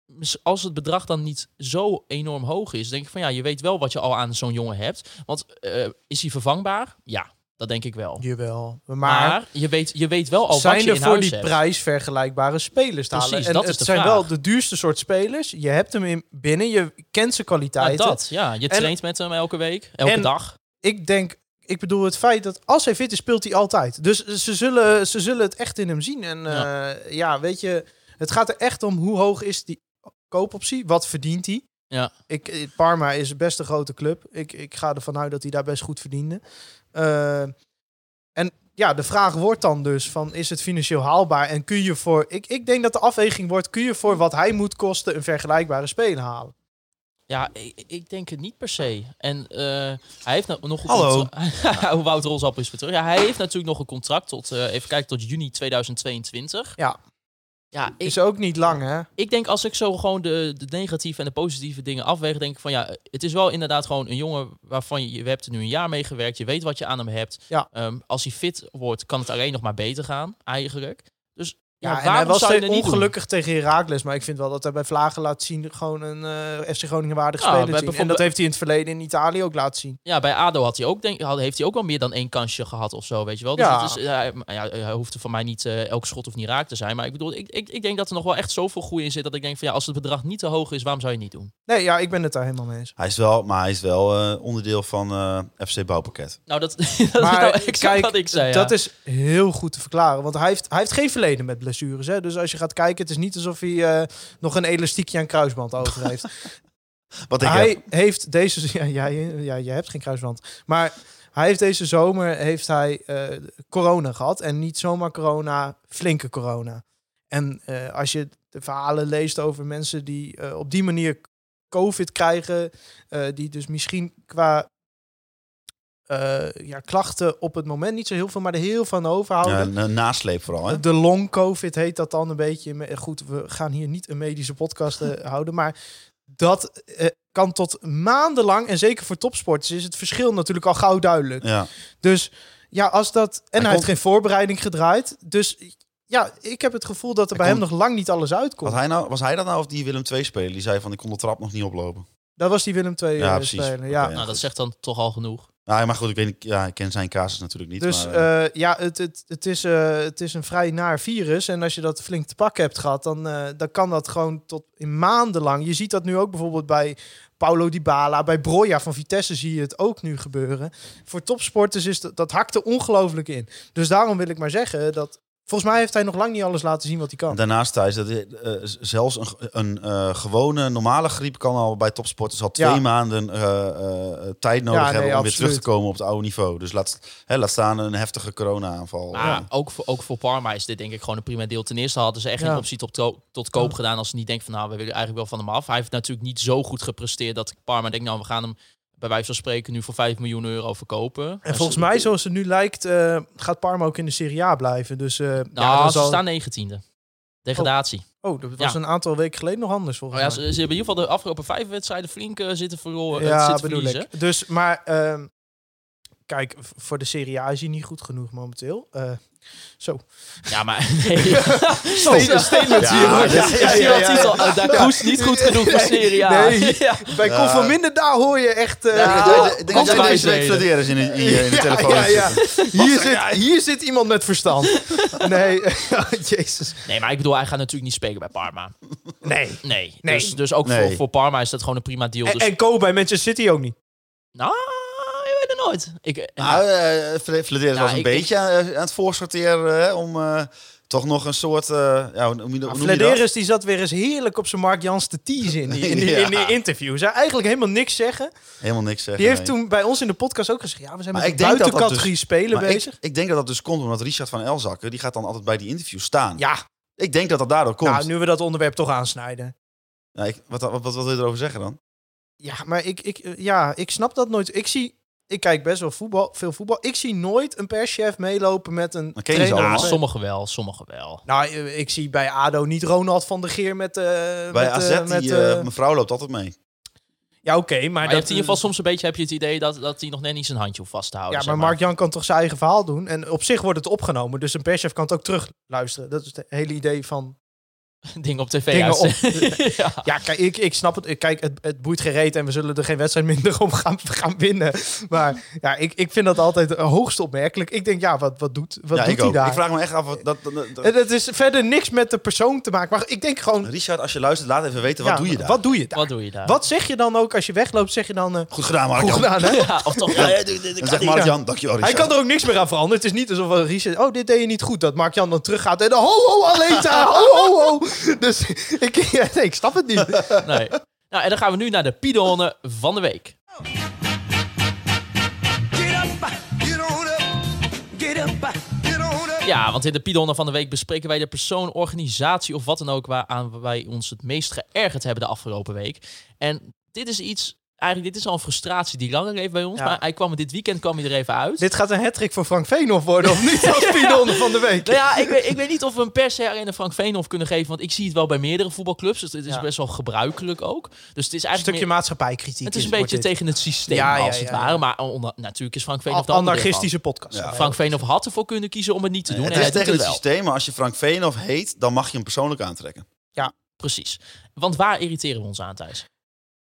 D: mis- als het bedrag dan niet zo enorm hoog is, denk ik van ja, je weet wel wat je al aan zo'n jongen hebt. Want eh, is hij vervangbaar? Ja, dat denk ik wel.
F: Jawel. Maar,
D: Maar, je, weet, je weet wel al wat
F: zijn
D: je
F: er
D: in
F: voor
D: huis
F: die
D: hebt.
F: prijs vergelijkbare spelers te
D: Precies,
F: halen? En
D: dat is
F: het
D: de
F: zijn
D: vraag.
F: wel de duurste soort spelers. Je hebt hem in binnen, je kent zijn
D: Ja,
F: kwaliteiten.
D: dat, ja. Je
F: En-
D: traint met hem elke week, elke
F: en-
D: dag.
F: Ik denk, ik bedoel het feit dat als hij fit is, speelt hij altijd. Dus ze zullen, ze zullen het echt in hem zien. En eh, ja. weet je, het gaat er echt om hoe hoog is die koopoptie? Wat verdient hij?
D: Ja.
F: Ik, eh, Parma is best een grote club. Ik, ik ga ervan uit dat hij daar best goed verdiende. Eh, en ja, de vraag wordt dan dus van is het financieel haalbaar en kun je voor... Ik, ik denk dat de afweging wordt, kun je voor wat hij moet kosten een vergelijkbare speler halen?
D: Ja, ik, ik denk het niet per se. En eh, hij heeft nou nog een
E: Hallo.
D: contra- Hoe Wout Rolsap is weer terug. Ja, hij heeft natuurlijk nog een contract tot, eh, even kijken, tot juni 2022.
F: Ja.
D: Ja, ik,
F: Is ook niet lang, hè?
D: ik denk als ik zo gewoon de, de negatieve en de positieve dingen afweeg, denk ik van ja, het is wel inderdaad gewoon een jongen waarvan je, je hebt er nu een jaar mee gewerkt, je weet wat je aan hem hebt.
F: Ja.
D: Ehm, als hij fit wordt, kan het alleen nog maar beter gaan, eigenlijk. Dus ja,
F: Ja, en
D: waarom
F: hij was
D: zou je
F: steeds
D: het niet doen?
F: ongelukkig tegen Herakles. Maar ik vind wel dat hij bij Vlagen laat zien gewoon een eh, FC Groningen waardig
D: Ja, bij
F: speler te zien. En
D: Nou, bijvoorbeeld-
F: dat heeft hij in het verleden in Italië ook laten zien.
D: Ja, bij ADO had hij ook, denk, had, heeft hij ook wel meer dan één kansje gehad of zo, weet je wel. Dus
F: Ja.
D: het is, ja, hij- ja, hij hoeft van mij niet eh, elk schot of niet raak te zijn. Maar ik bedoel, ik, ik, ik denk dat er nog wel echt zoveel goede in zit dat ik denk van ja, als het bedrag niet te hoog is, waarom zou je het niet doen?
F: Nee, ja, ik ben het daar helemaal mee eens.
E: Hij is wel, maar hij is wel eh, onderdeel van eh, FC Bouwpakket.
D: Nou, dat, dat is nou exact wat ik zei.
F: dat
D: ja.
F: is heel goed te verklaren. Want hij heeft, hij heeft geen verleden met blessures. Hè? Dus als je gaat kijken, het is niet alsof hij eh, nog een elastiekje aan kruisband over heeft.
E: Wat ik
F: hij
E: heb.
F: heeft deze... Ja, ja, ja, jij hebt geen kruisband. Maar hij heeft deze zomer heeft hij, eh, corona gehad. En niet zomaar corona, flinke corona. En eh, als je de verhalen leest over mensen die eh, op die manier COVID krijgen... eh, die dus misschien qua eh, ja, klachten op het moment niet zo heel veel... maar er heel van overhouden.
E: Ja, een een nasleep vooral, hè?
F: De long covid heet dat dan een beetje. Me- Goed, we gaan hier niet een medische podcast eh, houden, maar dat eh, kan tot maandenlang en zeker voor topsporters is het verschil natuurlijk al gauw duidelijk.
E: Ja.
F: Dus ja, als dat en hij,
E: komt-
F: heeft geen voorbereiding gedraaid, dus ja, ik heb het gevoel dat er
E: Hij
F: bij
E: komt-
F: hem nog lang niet alles uitkomt.
E: Was hij, nou, was hij dat nou of die Willem 2 speler? Die zei van ik kon de trap nog niet oplopen.
F: Dat was die Willem II
E: Ja,
F: eh,
E: precies.
F: speler. Ja.
E: Oké.
D: nou, dat zegt dan toch al genoeg.
E: Nou, maar goed, ik, weet, niet- ja, ik ken zijn casus natuurlijk niet.
F: Dus
E: maar, eh,
F: eh, ja, het, het, het, is, eh, het is een vrij naar virus. En als je dat flink te pakken hebt gehad, dan, eh, dan kan dat gewoon tot in maandenlang. Je ziet dat nu ook bijvoorbeeld bij Paulo Dybala, bij Broja van Vitesse zie je het ook nu gebeuren. Voor topsporters is dat, dat hakt er ongelooflijk in. Dus daarom wil ik maar zeggen dat volgens mij heeft hij nog lang niet alles laten zien wat hij kan.
E: Daarnaast, Thijs, dat, is, eh, z- zelfs een, een eh, gewone, normale griep kan al bij topsporters al twee
F: Ja.
E: maanden eh, eh, tijd nodig
F: Ja, nee,
E: hebben om weer
F: absoluut.
E: terug te komen op het oude niveau. Dus laat, hè, laat staan een heftige corona-aanval.
D: Maar
E: Ja.
D: ook, voor, ook voor Parma is dit denk ik gewoon een prima deel. Ten eerste hadden ze echt
F: Ja.
D: geen optie tot, ko- tot koop
F: Ja.
D: gedaan als ze niet denken van nou, we willen eigenlijk wel van hem af. Hij heeft natuurlijk niet zo goed gepresteerd dat Parma denkt nou, we gaan hem bij wijze van spreken nu voor 5 miljoen euro verkopen.
F: En
D: Dus-
F: volgens mij, zoals het nu lijkt, eh, gaat Parma ook in de Serie A blijven. Dus eh,
D: Nou,
F: ja, dat
D: ze
F: zal-
D: staan negentiende. Degradatie.
F: Oh, dat was
D: Ja.
F: een aantal weken geleden nog anders
D: Oh
F: volgens
D: ja,
F: mij.
D: ze, ze hebben in ieder geval de afgelopen vijf wedstrijden flink eh, zitten verloren.
F: Ja,
D: zitten
F: bedoel
D: verliezen.
F: ik. Dus, maar ehm, kijk, v- voor de Serie A is hij niet goed genoeg momenteel. Eh, zo.
D: Ja, maar nee.
F: Steen- statement
E: Ja, hier.
D: Ja,
E: ja,
D: ik zie
F: ja,
D: dat
F: ja.
D: titel. Eh, Daar Kroes niet goed genoeg voor Serie A.
F: Nee.
D: Ja.
F: Bij
E: Ja.
F: Kon van Minder, daar hoor je echt... eh,
D: Ja,
F: oh,
E: Ik denk dat jij
D: Kopswijs
E: deze week
D: reden.
E: fladderen is in, de- in, je- in de
F: ja,
E: telefoon.
F: ja, ja. Hier, zit, hier zit iemand met verstand. Nee, oh, jezus.
D: nee, maar ik bedoel, hij gaat natuurlijk niet spelen bij Parma.
F: Nee.
D: Nee.
F: Nee.
D: Dus, dus ook
E: Nee.
D: Voor, voor Parma is dat gewoon een prima deal.
F: En,
D: Dus,
F: en Ko bij Manchester City ook niet.
D: nou, je weet het nooit. Ik, eh,
E: Nou, eh, Fla- Fladderen
D: Nou,
E: was een
D: ik-
E: beetje eh, aan het voorsorteren hè, om eh, toch nog een soort... eh, ja, hoe, noem je dat- hoe noem je dat?
F: Flederis die zat weer eens heerlijk op zijn Mark Jans te teasen in die, in die, in die
E: Ja.
F: interview. Zou eigenlijk helemaal niks zeggen.
E: Helemaal niks zeggen.
F: Die heeft
E: nee.
F: toen bij ons in de podcast ook gezegd... Ja, we zijn
E: Maar
F: met
E: ik
F: de
E: denk dat dat
F: buitencategorie spelen
E: Maar
F: bezig.
E: ik, ik denk dat dat dus komt omdat Richard van Elzakken, die gaat dan altijd bij die interviews staan.
F: ja,
E: Ik denk dat dat daardoor komt.
F: Nou, nu we dat onderwerp toch aansnijden.
E: Nou, ik- wat, wat, wat, wat wil je erover zeggen dan?
F: Ja, maar ik, ik, eh, ja, ik snap dat nooit. Ik zie, ik kijk best wel voetbal, veel voetbal. Ik zie nooit een perschef meelopen met een
E: Maar ken je ze
F: trainer.
E: allemaal?
D: nou,
E: Soms-
D: sommigen wel, sommigen wel.
F: Nou, eh, ik zie bij ADO niet Ronald van der Geer met... eh
E: Bij
F: met, eh,
E: AZ,
F: met,
E: die,
F: eh,
E: eh, mevrouw loopt altijd mee.
F: ja, oké, maar,
D: Maar
F: dat...
D: je hebt in ieder geval soms een beetje heb je het idee dat, dat hij nog net niet zijn handje hoeft vast te
F: ja,
D: houden.
F: maar,
D: zeg
F: Mark-Jan kan toch zijn eigen verhaal doen? En op zich wordt het opgenomen, dus een perschef kan het ook terugluisteren. Dat is het hele idee van...
D: Dingen op tv
F: Dingen op-
D: uitzenden. ja.
F: Ja, kijk, ik, ik snap het. Kijk, het, het boeit gereed en we zullen er geen wedstrijd minder om gaan, gaan winnen. Maar ja, ik, ik vind dat altijd eh, hoogst opmerkelijk. Ik denk, ja, wat, wat doet, wat
E: ja,
F: doet
E: ik
F: hij
E: ook.
F: daar?
E: Ik vraag me echt af. Wat, dat, dat- dat-
F: En Het is verder niks met de persoon te maken. Maar ik denk gewoon...
E: Richard, als je luistert, laat even weten. Dus Wat
F: ja,
E: doe je daar?
F: Wat doe je daar?
D: Wat doe je daar?
F: Wat zeg je dan ook als je wegloopt? Zeg je dan... eh
E: Goed gedaan, Mark.
F: goed
E: Jan.
F: gedaan, hè?
D: Ja, of toch? Ja,
E: Dan zegt Mark
F: Ja.
E: Jan, dankjewel
F: Hij
E: Richard.
F: kan er ook niks meer aan veranderen. Het is niet alsof eh, Richard... Oh, dit deed je niet goed. Dat Mark-Jan dan teruggaat. En dan, ho, ho, Aleta! ho, ho, ho. Dus ik, ja, nee, ik snap het niet.
D: Nee. Nou, en dan gaan we nu naar de Piedonnen van de week.
C: Get up, get on up, get up,
D: Ja, want in de Pidonder van de Week bespreken wij de persoon, organisatie of wat dan ook waaraan wij ons het meest geërgerd hebben de afgelopen week. En dit is iets, eigenlijk dit is al een frustratie die langer leeft bij ons,
F: Ja.
D: maar hij kwam, er- dit weekend kwam hij er even uit.
F: Dit gaat een hattrick voor Frank Veenhoff worden, of niet? Als Pidon van de week.
D: Nou ja, ik weet, ik weet niet of we een per se alleen een Frank Veenhoff kunnen geven, want ik zie het wel bij meerdere voetbalclubs. Dus het is
F: Ja.
D: best wel gebruikelijk ook. Dus het is
F: Een
D: eigenlijk
F: stukje
D: meer-
F: maatschappijkritiek.
D: het is een
F: wordt
D: beetje
F: dit.
D: tegen het systeem
F: Ja, ja,
D: als het
F: ja, ja.
D: ware, maar onder- natuurlijk is Frank Veenhoff
F: An-
D: de andere
F: anarchistische podcast.
D: ervan. Frank Veenhoff had ervoor kunnen kiezen om het niet te doen.
E: het
D: en
E: is
D: hij doet
E: tegen het
D: wel.
E: systeem, maar als je Frank Veenhoff heet, dan mag je hem persoonlijk aantrekken.
D: Precies. Want waar irriteren we ons aan, Thijs?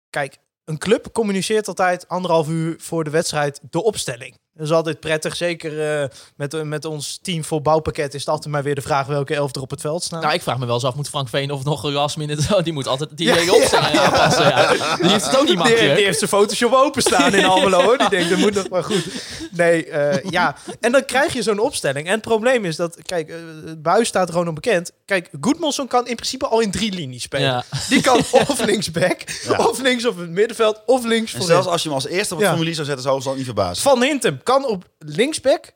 F: Kijk, een club communiceert altijd anderhalf uur voor de wedstrijd de opstelling. Dat is altijd prettig. Zeker eh, met, met ons team voor bouwpakket is het altijd maar weer de vraag welke elf er op het veld staan.
D: Nou, ik vraag me wel eens af, moet Frank Veenhoff nog een last minute... Die moet altijd die hele opstelling aanpassen. ja. Nou, Die heeft het ook niet
F: die, heeft- die
D: makkelijk.
F: heeft zijn Photoshop openstaan in Almelo. Hoor. Die denkt, dat moet nog maar goed. Nee, eh, ja. En dan krijg je zo'n opstelling. En het probleem is dat, kijk, eh, Buis staat gewoon onbekend. Kijk, Goodmanson kan in principe al in drie linies spelen.
D: Ja.
F: Die kan of linksback,
E: Ja.
F: of links op het middenveld, of links
E: En
F: voor.
E: zelfs als je hem als eerste op het
F: Ja.
E: formulier zou zetten, zou ze dan niet verbazen.
F: Van Hintem kan op linksback,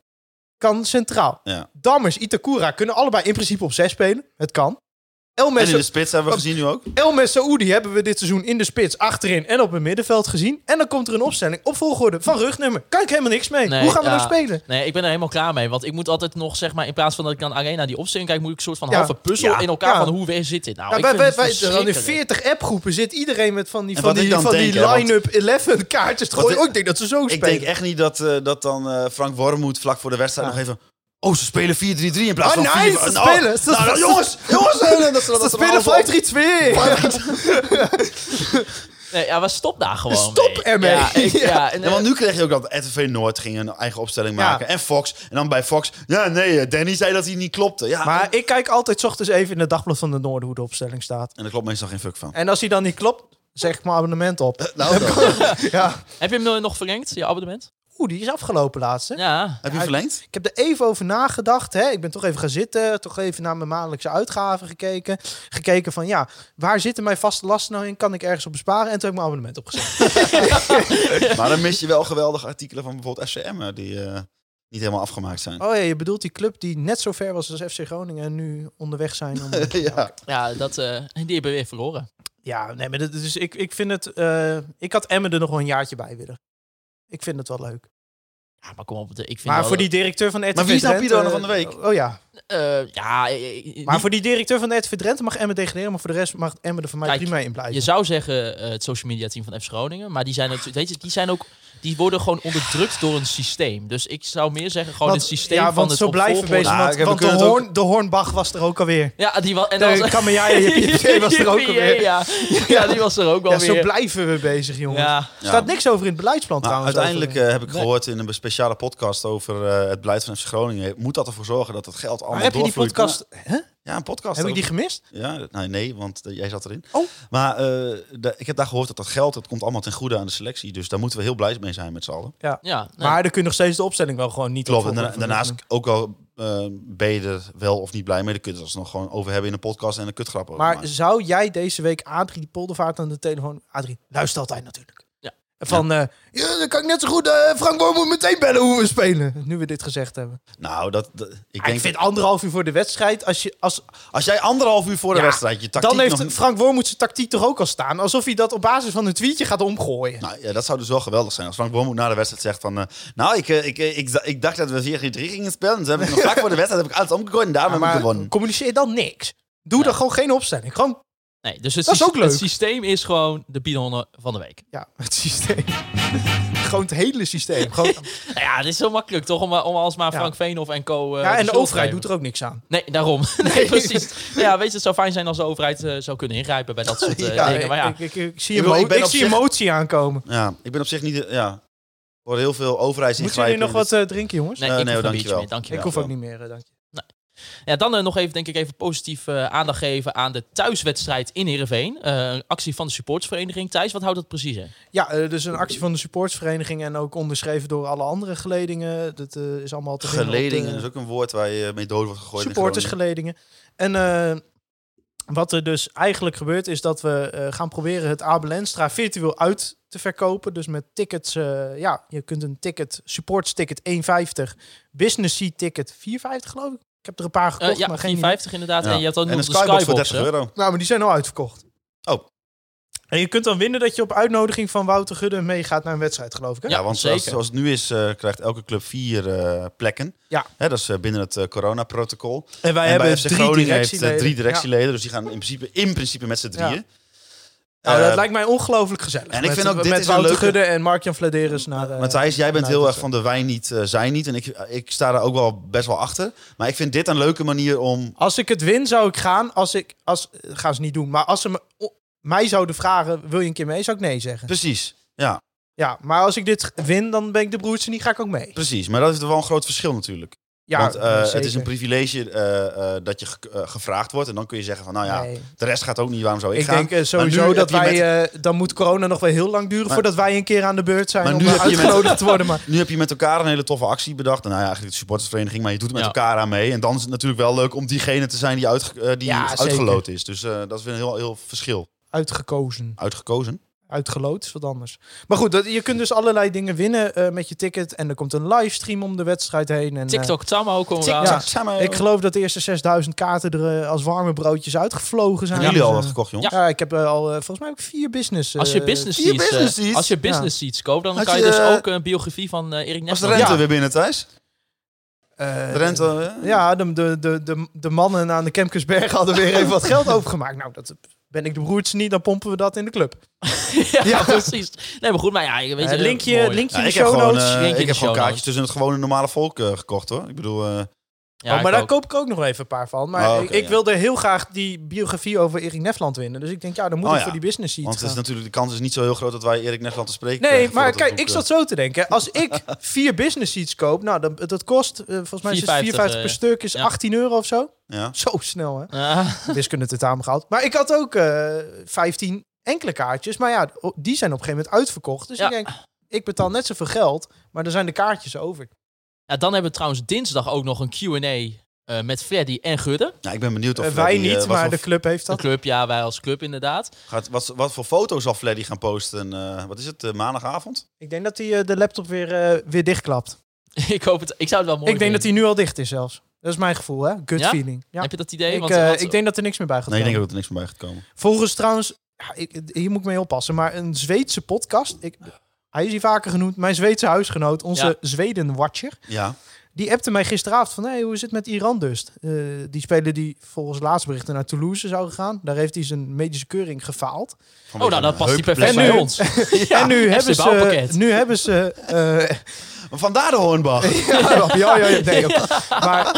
F: kan centraal.
E: Ja.
F: Dammers, Itakura kunnen allebei in principe op zes spelen. Het kan. El
E: En in
F: Messa-
E: de spits hebben we gezien nu ook.
F: El Messaoudi hebben we dit seizoen in de spits, achterin en op het middenveld gezien. En dan komt er een opstelling op volgorde van rugnummer. Kan ik helemaal niks mee.
D: Nee,
F: Hoe gaan we
D: ja.
F: nou spelen?
D: Nee, ik ben er helemaal klaar mee. Want ik moet altijd nog, zeg maar, in plaats van dat ik dan alleen naar die opstelling kijk... moet ik een soort van
F: Ja.
D: halve puzzel
E: Ja.
D: in elkaar
F: Ja.
D: van hoe weer zit dit nou?
F: Ja,
D: ik
F: wij,
D: vind
F: wij,
D: het
F: wij- dan in
D: verschrikkelijk.
F: 40 appgroepen zit iedereen met van die,
E: En
F: van
E: wat
F: die,
E: ik dan
F: van die
E: denk, hè, want-
F: line-up 11 kaartjes te
E: Wat
F: gooien.
E: ik-
F: Oh, ik denk dat ze zo
E: Ik
F: spelen.
E: denk echt niet dat, eh, dat dan eh, Frank Wormoed vlak voor de wedstrijd
F: Ja.
E: nog even... Oh, ze spelen 4-3-3 in plaats
F: Oh,
E: van 4
F: nice, ze
E: nou,
F: spelen, ze-
E: nou,
F: ze-
E: jongens, jongens! eh, Dat ze
F: Ze
E: dat
F: spelen 5-3-2.
D: Nee, ja, maar stop daar gewoon
F: Stop
D: mee.
F: ermee.
D: Ja, ik- ja, en,
E: Ja,
D: eh,
E: want nu kreeg je ook dat RTV Noord ging een eigen opstelling
F: Ja.
E: maken. En Fox. En dan bij Fox. Ja, nee, eh, Danny zei dat hij niet klopte. Ja,
F: Maar ik kijk altijd 's ochtends even in het dagblad van de Noorden hoe de opstelling staat.
E: En daar klopt meestal geen fuck van.
F: En als hij dan niet klopt, zeg ik mijn abonnement op.
E: Nou, dan.
F: Ja.
D: Heb je hem nog- nog verlengd, je abonnement?
F: Oeh, die is afgelopen laatst. hè?
D: Ja.
E: heb je verlengd?
F: Ik heb er even over nagedacht. Hè. Ik ben toch even gaan zitten. Toch even naar mijn maandelijkse uitgaven gekeken. Gekeken van, ja, waar zitten mijn vaste lasten nou in? Kan ik ergens op besparen? En toen heb ik mijn abonnement opgezet.
E: Maar dan mis je wel geweldige artikelen van bijvoorbeeld FCM. eh, Die eh, niet helemaal afgemaakt zijn.
F: Oh ja, je bedoelt die club die net zo ver was als FC Groningen... en nu onderweg zijn om...
E: ja.
D: Ja, dat, eh, die hebben weer verloren.
F: ja, nee, maar dat, dus ik, ik vind het... eh, ik had Emmen er nog wel een jaartje bij willen. Ik vind het wel leuk.
D: Ja, maar kom op. de- Ik vind
F: Maar
D: wel
F: voor
D: dat-
F: die directeur van RTV
E: Maar wie is nou
F: Drenthe,
E: Pido van de week?
F: eh, Oh ja,
D: eh, ja, eh, eh,
F: Maar voor die directeur van de RTV Drenthe mag Emmen degraderen, maar voor de rest mag Emmen er voor mij
D: Kijk,
F: prima in
D: Je
F: blijven.
D: zou zeggen eh, het social media team van FC Groningen, maar die zijn natuurlijk, weet je, die zijn ook, die worden gewoon onderdrukt door een systeem. Dus ik zou meer zeggen gewoon
F: Want-
D: het systeem
F: ja,
D: van
F: want
D: het
F: zo
D: op
F: blijven
D: volgorde-
F: bezig,
E: Nou,
F: want,
E: ik heb- we
F: want de,
E: kunnen het
F: hoorn,
E: ook-
F: de Hoornbach was er ook alweer.
D: Ja, die was en dan
F: De Kammerjaaien, JPJ was er ook alweer. Ja,
D: Ja, ja, die was er ook wel
F: zo
D: weer.
F: blijven we bezig, jongen.
D: ja.
F: Er staat niks over in het beleidsplan
E: Maar
F: trouwens.
E: uiteindelijk
F: over-
E: eh, heb ik gehoord in een speciale podcast over eh, het beleid van FC Groningen. Moet dat ervoor zorgen dat het geld allemaal
F: Maar heb je die
E: doorvloeit?
F: podcast... Hè?
E: Ja, een podcast.
F: Heb ik
E: over-
F: die gemist?
E: Ja, dat- nou, nee, want eh, jij zat erin.
F: Oh.
E: Maar eh, de- ik heb daar gehoord dat dat geld, dat komt allemaal ten goede aan de selectie. Dus daar moeten we heel blij mee zijn met z'n allen.
D: Ja, nee.
F: Maar dan kun je nog steeds de opstelling wel gewoon niet
E: Klopt,
F: op
E: en daarna-
F: volgorde van
E: daarnaast
F: doen.
E: ook al eh ben je er wel of niet blij mee. Dan kun je het alsnog gewoon over hebben in een podcast en een kutgrap over
F: Maar
E: maken.
F: zou jij deze week Adrie Poldervaart aan de telefoon... Adrie, luister altijd natuurlijk.
D: Ja.
F: Van, eh, ja, dan kan ik net zo goed eh, Frank Boer moet meteen bellen hoe we spelen. Nu we dit gezegd hebben. Ah,
E: Nou, dat, dat- ik
F: Ik,
E: denk,
F: vind anderhalf uur voor de wedstrijd. Als je, als,
E: als jij anderhalf uur voor de
F: Ja,
E: wedstrijd je tactiek
F: dan heeft
E: nog...
F: Frank Wormoed zijn tactiek toch ook al staan. Alsof hij dat op basis van een tweetje gaat omgooien.
E: Nou ja, dat zou dus wel geweldig zijn. Als Frank Boermoed na de wedstrijd zegt van... eh, nou, ik, eh, ik, eh, ik, ik dacht dat we 4-3 gingen spelen. Dus heb ik nog vlak voor de wedstrijd heb ik alles omgegooid en daarmee
F: maar
E: gewonnen.
F: communiceer dan niks. Doe dan gewoon geen opstelling. Gewoon
D: nee, dus het,
F: Dat is
D: syste-
F: ook leuk.
D: het systeem is gewoon de pionnen van de week.
F: ja, het systeem. gewoon het hele systeem. Gewoon,
D: Nou ja, het is zo makkelijk toch om, eh, om alsmaar
F: Ja.
D: Frank Veenhoff en co. eh,
F: ja, en de
D: schuld
F: overheid
D: te geven.
F: doet er ook niks aan.
D: Nee, daarom. Nee, precies. Nou ja, weet je, het zou fijn zijn als de overheid eh, zou kunnen ingrijpen bij dat soort eh,
F: Ja,
D: dingen. Maar ja,
F: ik, ik, ik zie,
E: Ik
F: emo-
E: bedoel, ik
F: ik
E: ben op
F: zie
E: zich-
F: emotie aankomen.
E: Ja, ik ben op zich niet... eh, Ja, voor heel veel
F: Moeten jullie
E: overheidsingrijpen...
F: nog
E: in
F: wat eh, drinken, jongens?
D: nee,
E: Eh,
D: ik
E: nee,
D: hoef een beetje
E: dankjewel.
D: meer. Dankjewel.
F: ik hoef ook niet meer, eh, dank je.
D: Ja, dan eh, nog even, denk ik, even positief eh, aandacht geven aan de thuiswedstrijd in Heerenveen. Eh, een actie van de supportsvereniging. Thijs, wat houdt dat precies in?
F: Ja, eh, dus een actie van de supportsvereniging en ook onderschreven door alle andere geledingen. Dat eh, is allemaal te vinden op eh, de-
E: Geledingen dat is ook een woord waar je mee dood wordt gegooid. in Groningen.
F: supportersgeledingen. En eh, wat er dus eigenlijk gebeurt is dat we eh, gaan proberen het Abel Enstra virtueel uit te verkopen. Dus met tickets, eh, ja, je kunt een ticket, supportsticket 1,50, business seat ticket 4,50 geloof ik. Ik heb er een paar
D: Eh,
F: gekocht,
D: ja,
F: maar geen
D: 50 inderdaad.
E: Ja.
D: En je had dan
E: En
D: nog
E: een
D: de
E: skybox, voor 30
D: hè?
E: euro.
F: idee. Nou, maar die zijn al uitverkocht.
E: Oh.
F: En je kunt dan winnen dat je op uitnodiging van Wouter Gudde meegaat naar een wedstrijd, geloof ik. Hè?
E: Ja, want
D: zeker.
E: Zoals, zoals het nu is, eh, krijgt elke club vier eh, plekken.
F: Ja.
E: Hè, dat is eh, binnen het eh, coronaprotocol.
F: En wij
E: en bij
F: hebben
E: FC
F: drie
E: Groningen heeft
F: directieleden.
E: eh, drie
F: Ja.
E: directieleden. Dus die gaan in principe, in principe met z'n drieën.
F: Nou,
E: Eh,
F: dat lijkt mij ongelooflijk gezellig.
E: en ik
F: met,
E: vind ook, dit
F: met
E: is een
F: Wouter
E: leuke-
F: Gudde en Mark-Jan Vladeris naar... eh,
E: Matthijs, jij bent
F: naar
E: heel erg
F: Utrecht.
E: van de wij niet, eh, zij niet. En ik, ik sta daar ook wel best wel achter. Maar ik vind dit een leuke manier om...
F: Als ik het win, zou ik gaan. Als ik, als, eh, gaan ze niet doen. Maar als ze me, o- mij zouden vragen, wil je een keer mee, zou ik nee zeggen.
E: Precies, ja,
F: Ja, maar als ik dit win, dan ben ik de broertje niet, ga ik ook mee.
E: precies. Maar dat is wel een groot verschil natuurlijk.
F: Ja,
E: Want eh, het
F: zeker.
E: is een privilege eh, eh, dat je ge- eh, gevraagd wordt. En dan kun je zeggen van, nou ja,
F: Nee.
E: de rest gaat ook niet. Waarom zou ik,
F: Ik
E: gaan?
F: denk eh,
E: Maar nu
F: sowieso
E: heb
F: dat
E: je
F: wij...
E: met-
F: eh, dan moet corona nog wel heel lang duren
E: Maar-
F: voordat wij een keer aan de beurt zijn
E: Maar
F: om
E: nu
F: eh,
E: heb je met-
F: uitgenodigd te worden. Maar
E: Nu heb je met elkaar een hele toffe actie bedacht. Nou ja, eigenlijk de supportersvereniging, maar je doet er met
D: Ja.
E: elkaar aan mee. En dan is het natuurlijk wel leuk om diegene te zijn die, uitge eh, die
F: Ja, zeker.
E: uitgeloot is. Dus eh, dat is weer een heel, heel verschil.
F: uitgekozen,
E: Uitgekozen.
F: uitgeloot is wat anders. Maar goed, dat, je kunt dus allerlei dingen winnen eh, met je ticket. En er komt een livestream om de wedstrijd heen. En, eh,
D: TikTok Tammo komen we
E: Tik-
D: aan.
E: ja, samen.
F: ik geloof dat de eerste 6000 kaarten er eh, als warme broodjes uitgevlogen zijn.
E: Hebben jullie
F: Dus,
E: al wat
F: eh,
E: gekocht, jongens?
F: Ja, ik heb eh, al, eh, volgens mij heb ik vier business. eh,
D: Als je business
E: vier
D: seats, eh,
E: business seats?
D: als je business seats koopt, dan
E: Had
D: kan je
E: je,
D: dus
E: eh,
D: ook een biografie van eh, Erik
E: Was de
D: Nesman.
E: rente
D: Ja.
E: weer binnen, Thijs?
F: eh,
E: De rente... eh?
F: Ja, de, de, de, de, de mannen aan de Kemkersberg hadden weer even wat geld overgemaakt. Nou, dat ben ik de broertje niet, dan pompen we dat in de club.
D: ja, precies. Nee, maar goed, maar ja, weet je,
F: Eh, linkje,
D: mooi.
F: linkje
E: Ja,
F: in
E: ik
F: de
E: heb
F: show
E: gewoon,
F: notes.
E: eh,
D: Link in de
E: ik heb gewoon
D: show
E: kaartjes
D: notes.
E: tussen het gewone normale volk eh, gekocht, hoor. Ik bedoel, eh,
D: Ja,
F: Oh,
D: ik
F: maar daar
D: ook.
F: koop ik ook nog wel even een paar van. Maar
E: Oh, oké,
F: ik, ik
E: ja.
F: wilde heel graag die biografie over Erik Nefland winnen. Dus ik denk, ja, dan moet
E: Oh,
F: ik
E: ja.
F: voor die business seat
E: want het is
F: gaan.
E: natuurlijk, de kans is niet zo heel groot dat wij Erik Nefland te spreken
F: Nee,
E: krijgen
F: maar
E: voordat
F: kijk,
E: het boek,
F: ik
E: eh,
F: zat zo te denken. Als ik vier business seats koop, nou, dan, dat kost, eh, volgens mij is het
D: 4,50,
F: 54 per
D: eh,
F: stuk, is
D: ja.
F: 18 euro of zo.
E: Ja.
F: Zo snel, hè?
D: Ah,
F: wiskunde tentamen gehaald. Maar ik had ook eh 15 enkele kaartjes. Maar ja, o- die zijn op een gegeven moment uitverkocht. Dus
D: Ja.
F: ik denk, ik betaal net zoveel geld, maar er zijn de kaartjes over.
D: ja, dan hebben we trouwens dinsdag ook nog een Q&A eh, met Freddy en Gudde.
E: Ja, ik ben benieuwd of
F: Eh, wij
E: Freddy, eh,
F: niet,
E: wat
F: maar
E: voor-
F: de club heeft
D: De
F: dat.
D: club, ja, wij als club inderdaad.
E: Gaat, wat, wat voor foto's zal Fleddy gaan posten? eh, wat is het, eh, maandagavond?
F: Ik denk dat hij eh, de laptop weer, eh, weer dichtklapt.
D: ik, hoop het, ik zou het wel mooi
F: ik denk dat
D: vinden.
F: hij nu al dicht is zelfs. Dat is mijn gevoel, hè? Good
D: Ja?
F: feeling. Ja.
D: Heb je dat idee?
F: ik,
D: Want,
F: eh,
D: want-
F: ik denk dat er niks meer bij gaat
E: Nee, ik denk
F: komen.
E: dat er niks meer bij gaat komen.
F: Volgens trouwens, ja, ik, hier moet ik mee oppassen, maar een Zweedse podcast... Ik, hij is hier vaker genoemd, mijn Zweedse huisgenoot, onze
D: Ja.
F: Zweden-watcher.
E: Ja,
F: Die appte mij gisteravond van, hey, hoe is het met Iran dus? Eh, die speler die volgens laatste berichten naar Toulouse zou gaan. Daar heeft hij zijn medische keuring gefaald.
D: oh, nou, dan past hij perfect
F: En
D: bij
F: nu-
D: ons.
F: en nu hebben, ze,
D: bouwpakket.
F: nu hebben ze... eh,
E: Vandaar de Hoornbach.
F: ja, Rob, ja, ja, ja, nee, oké. Maar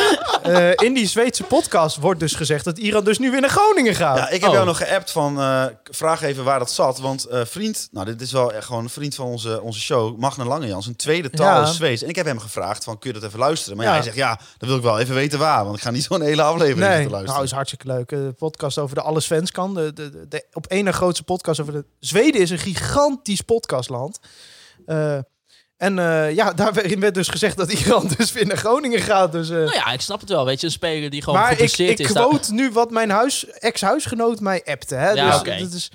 F: eh, in die Zweedse podcast wordt dus gezegd dat Iran dus nu weer naar Groningen gaat.
E: Ja, ik heb
D: Oh.
E: jou nog geappt van eh, k- vraag even waar dat zat. Want eh, vriend, nou dit is wel echt gewoon een vriend van onze, onze show, Magne Langejans, een tweede taal
F: Ja.
E: is Zweeds. En ik heb hem gevraagd van kun je dat even luisteren? Maar ja,
F: Ja.
E: hij zegt ja, dat wil ik wel even weten waar, want ik ga niet zo'n hele aflevering
F: Nee,
E: te
F: nou
E: luisteren.
F: is hartstikke leuk. Eh, De podcast over de Alle Svenskan. De, de, de, de op één na grootste podcast over de... Zweden is een gigantisch podcastland. Eh, en eh, ja, daarin werd dus gezegd dat Iran dus weer naar Groningen gaat. Dus, eh,
D: Nou ja, ik snap het wel. Weet je, een speler die gewoon
F: maar ik,
D: geblesseerd
F: ik
D: is. daar-
F: quote nu wat mijn huis, ex-huisgenoot mij appte. Hè?
D: Ja,
F: dus,
D: oké.
F: dat is,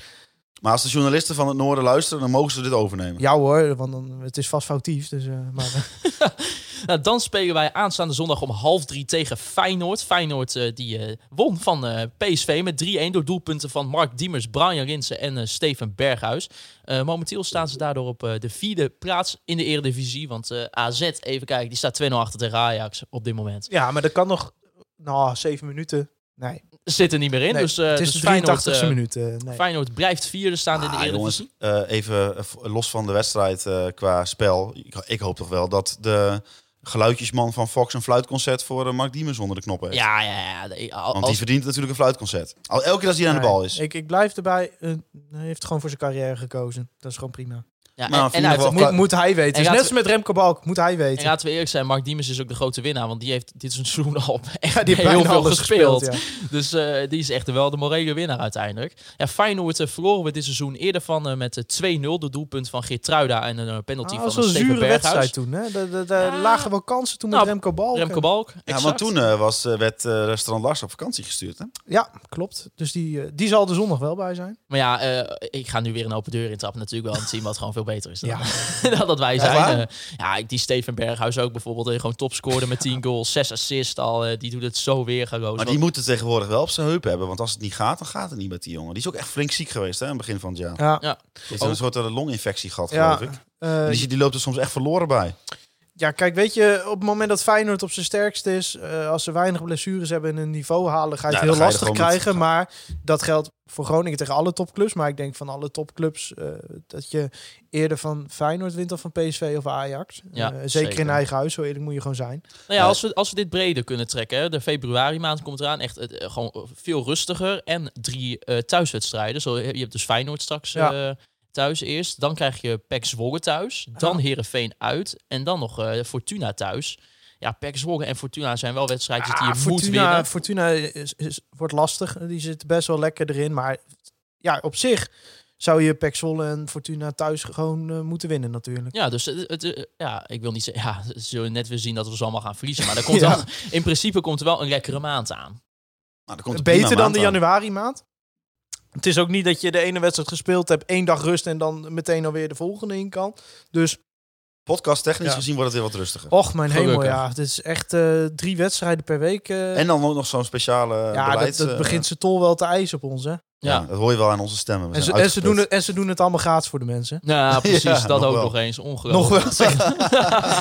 E: maar als de journalisten van het noorden luisteren, dan mogen ze dit overnemen.
F: ja hoor, want dan, het is vast foutief. Dus, eh, maar, eh,
D: Nou, dan spelen wij aanstaande zondag om half drie tegen Feyenoord. Feyenoord eh, die eh, won van eh, PSV met 3-1 door doelpunten van Mark Diemers, Brian Rinsen en eh, Steven Berghuis. Eh, momenteel staan ze daardoor op eh, de vierde plaats in de Eredivisie. Want eh, AZ, even kijken, die staat 2-0 achter tegen Ajax op dit moment.
F: ja, maar dat kan nog... Nou, zeven minuten. Nee.
D: Zit er niet meer in.
F: Nee,
D: dus, eh,
F: het is
D: dus
F: de
D: Feyenoord,
F: 83ste
D: eh,
F: minuut. eh, nee.
D: Feyenoord blijft vierde staan in de
E: Ah,
D: Eredivisie.
E: jongens, eh, even eh, v- los van de wedstrijd eh, qua spel. Ik, ik hoop toch wel dat de geluidjesman van Fox een fluitconcert voor eh, Mark Diemers onder de knoppen heeft.
D: Ja, ja, ja. de- eh, al-
E: Want
D: als-
E: die verdient natuurlijk een fluitconcert. Al elke keer als hij aan de
F: Nee,
E: bal is.
F: Ik, ik blijf erbij. eh, hij heeft gewoon voor zijn carrière gekozen. Dat is gewoon prima.
D: ja, en-
E: Nou,
D: en,
E: in ieder
D: hij-
E: geval-
F: Moet, moet hij weten.
D: En
F: Dus
D: gaat-
F: net als met Remco Balk, moet hij
D: en
F: weten.
D: laten we eerlijk zijn, Mark Diemers is ook de grote winnaar. Want die heeft dit seizoen al echt
F: die heeft
D: heel
F: bijna
D: veel
F: alles
D: gespeeld.
F: ja.
D: Dus eh, die is echt wel de morele winnaar uiteindelijk. Ja, Feyenoord eh, verloren we dit seizoen eerder van eh, met eh, 2-0. Door doelpunt van Geertruida en een eh, penalty
F: Ah,
D: van
F: dat was
D: Steven
F: een zure
D: Berghuis.
F: wedstrijd toen. Hè? Daar daar- daar
D: Ja.
F: lagen wel kansen toen
D: Nou,
F: met Remco Balk.
D: Remco Balk.
E: Ja,
D: exact.
E: want toen eh, was, eh, werd eh, restaurant Lars op vakantie gestuurd. Hè?
F: Ja, klopt. Dus die, eh, die zal er zondag wel bij zijn.
D: Maar ja, eh, ik ga nu weer een open deur intrappen natuurlijk wel. Want het team wat gewoon veel beter is dan,
F: Ja.
D: dan dat wij
E: Echt waar?
D: zijn. Eh, ja, die Steven Berghuis ook bijvoorbeeld. Die gewoon topscorer met 10 goals, 6 assists al. eh, die doet het zo weer gerozen.
E: Maar die moet het tegenwoordig wel op zijn heup hebben. Want als het niet gaat, dan gaat het niet met die jongen. Die is ook echt flink ziek geweest hè, aan het begin van het jaar. Die
F: Ja,
D: Ja.
E: heeft een soort eh, longinfectie gehad,
F: Oh. Ja.
E: geloof ik.
F: eh,
E: En Die, die loopt er soms echt verloren bij. Nou,
F: ja, kijk, weet je, op het moment dat Feyenoord op zijn sterkst is, eh, als ze weinig blessures hebben en een niveau halen, ga je het
E: Ja, Nou, dan
F: heel
E: ga je
F: lastig
E: er gewoon met-
F: krijgen. Maar dat geldt voor Groningen tegen alle topclubs. Maar ik denk van alle topclubs eh, dat je eerder van Feyenoord wint dan van PSV of Ajax.
D: Ja,
F: Eh, zeker
D: zeker.
F: in eigen huis, zo eerlijk moet je gewoon zijn.
D: Nou ja, als we, als we dit breder kunnen trekken. Hè, de februari maand komt eraan. Echt eh, gewoon veel rustiger. En drie eh, thuiswedstrijden. Zo, je hebt dus Feyenoord straks
F: Ja.
D: eh, thuis eerst. Dan krijg je PEC Zwolle thuis. Dan
F: Ah.
D: Herenveen uit. En dan nog eh, Fortuna thuis. Ja, PEC Zwolle en Fortuna zijn wel wedstrijdjes die
F: Ah,
D: je moet
F: Fortuna,
D: winnen.
F: Fortuna is, is- wordt lastig. Die zit best wel lekker erin. Maar ja, op zich zou je Pek Zwolle en Fortuna thuis gewoon eh, moeten winnen natuurlijk.
D: Ja, dus het, het, eh, ja, ik wil niet zeggen, ja, ze zullen net weer zien dat we ze allemaal gaan verliezen. Maar er komt
F: Ja.
D: wel, in principe komt er wel een lekkere maand aan.
E: Nou, er komt een prima
F: Beter dan
E: maand
F: de
E: aan.
F: januari maand. Het is ook niet dat je de ene wedstrijd gespeeld hebt, één dag rust en dan meteen alweer de volgende in kan. Dus,
E: Podcast technisch
F: Ja. Oh,
E: gezien wordt het weer wat rustiger.
F: och mijn hemel,
D: Gelukkig.
F: ja. Het is echt eh, drie wedstrijden per week. eh.
E: En dan ook nog zo'n speciale eh,
F: ja,
E: beleid.
F: dat, dat
E: eh,
F: begint ze tol wel te eisen op ons, hè.
E: ja.
D: Ja.
E: dat hoor je wel aan onze stemmen. We
F: En ze,
E: zijn
F: en, ze doen
E: uitgeput.
F: het, en ze doen het allemaal gratis voor de mensen.
D: Nou, precies,
E: Ja,
D: dat
E: nog
D: ook
E: wel.
D: nog eens. Ongelooflijk.
F: Nog wel.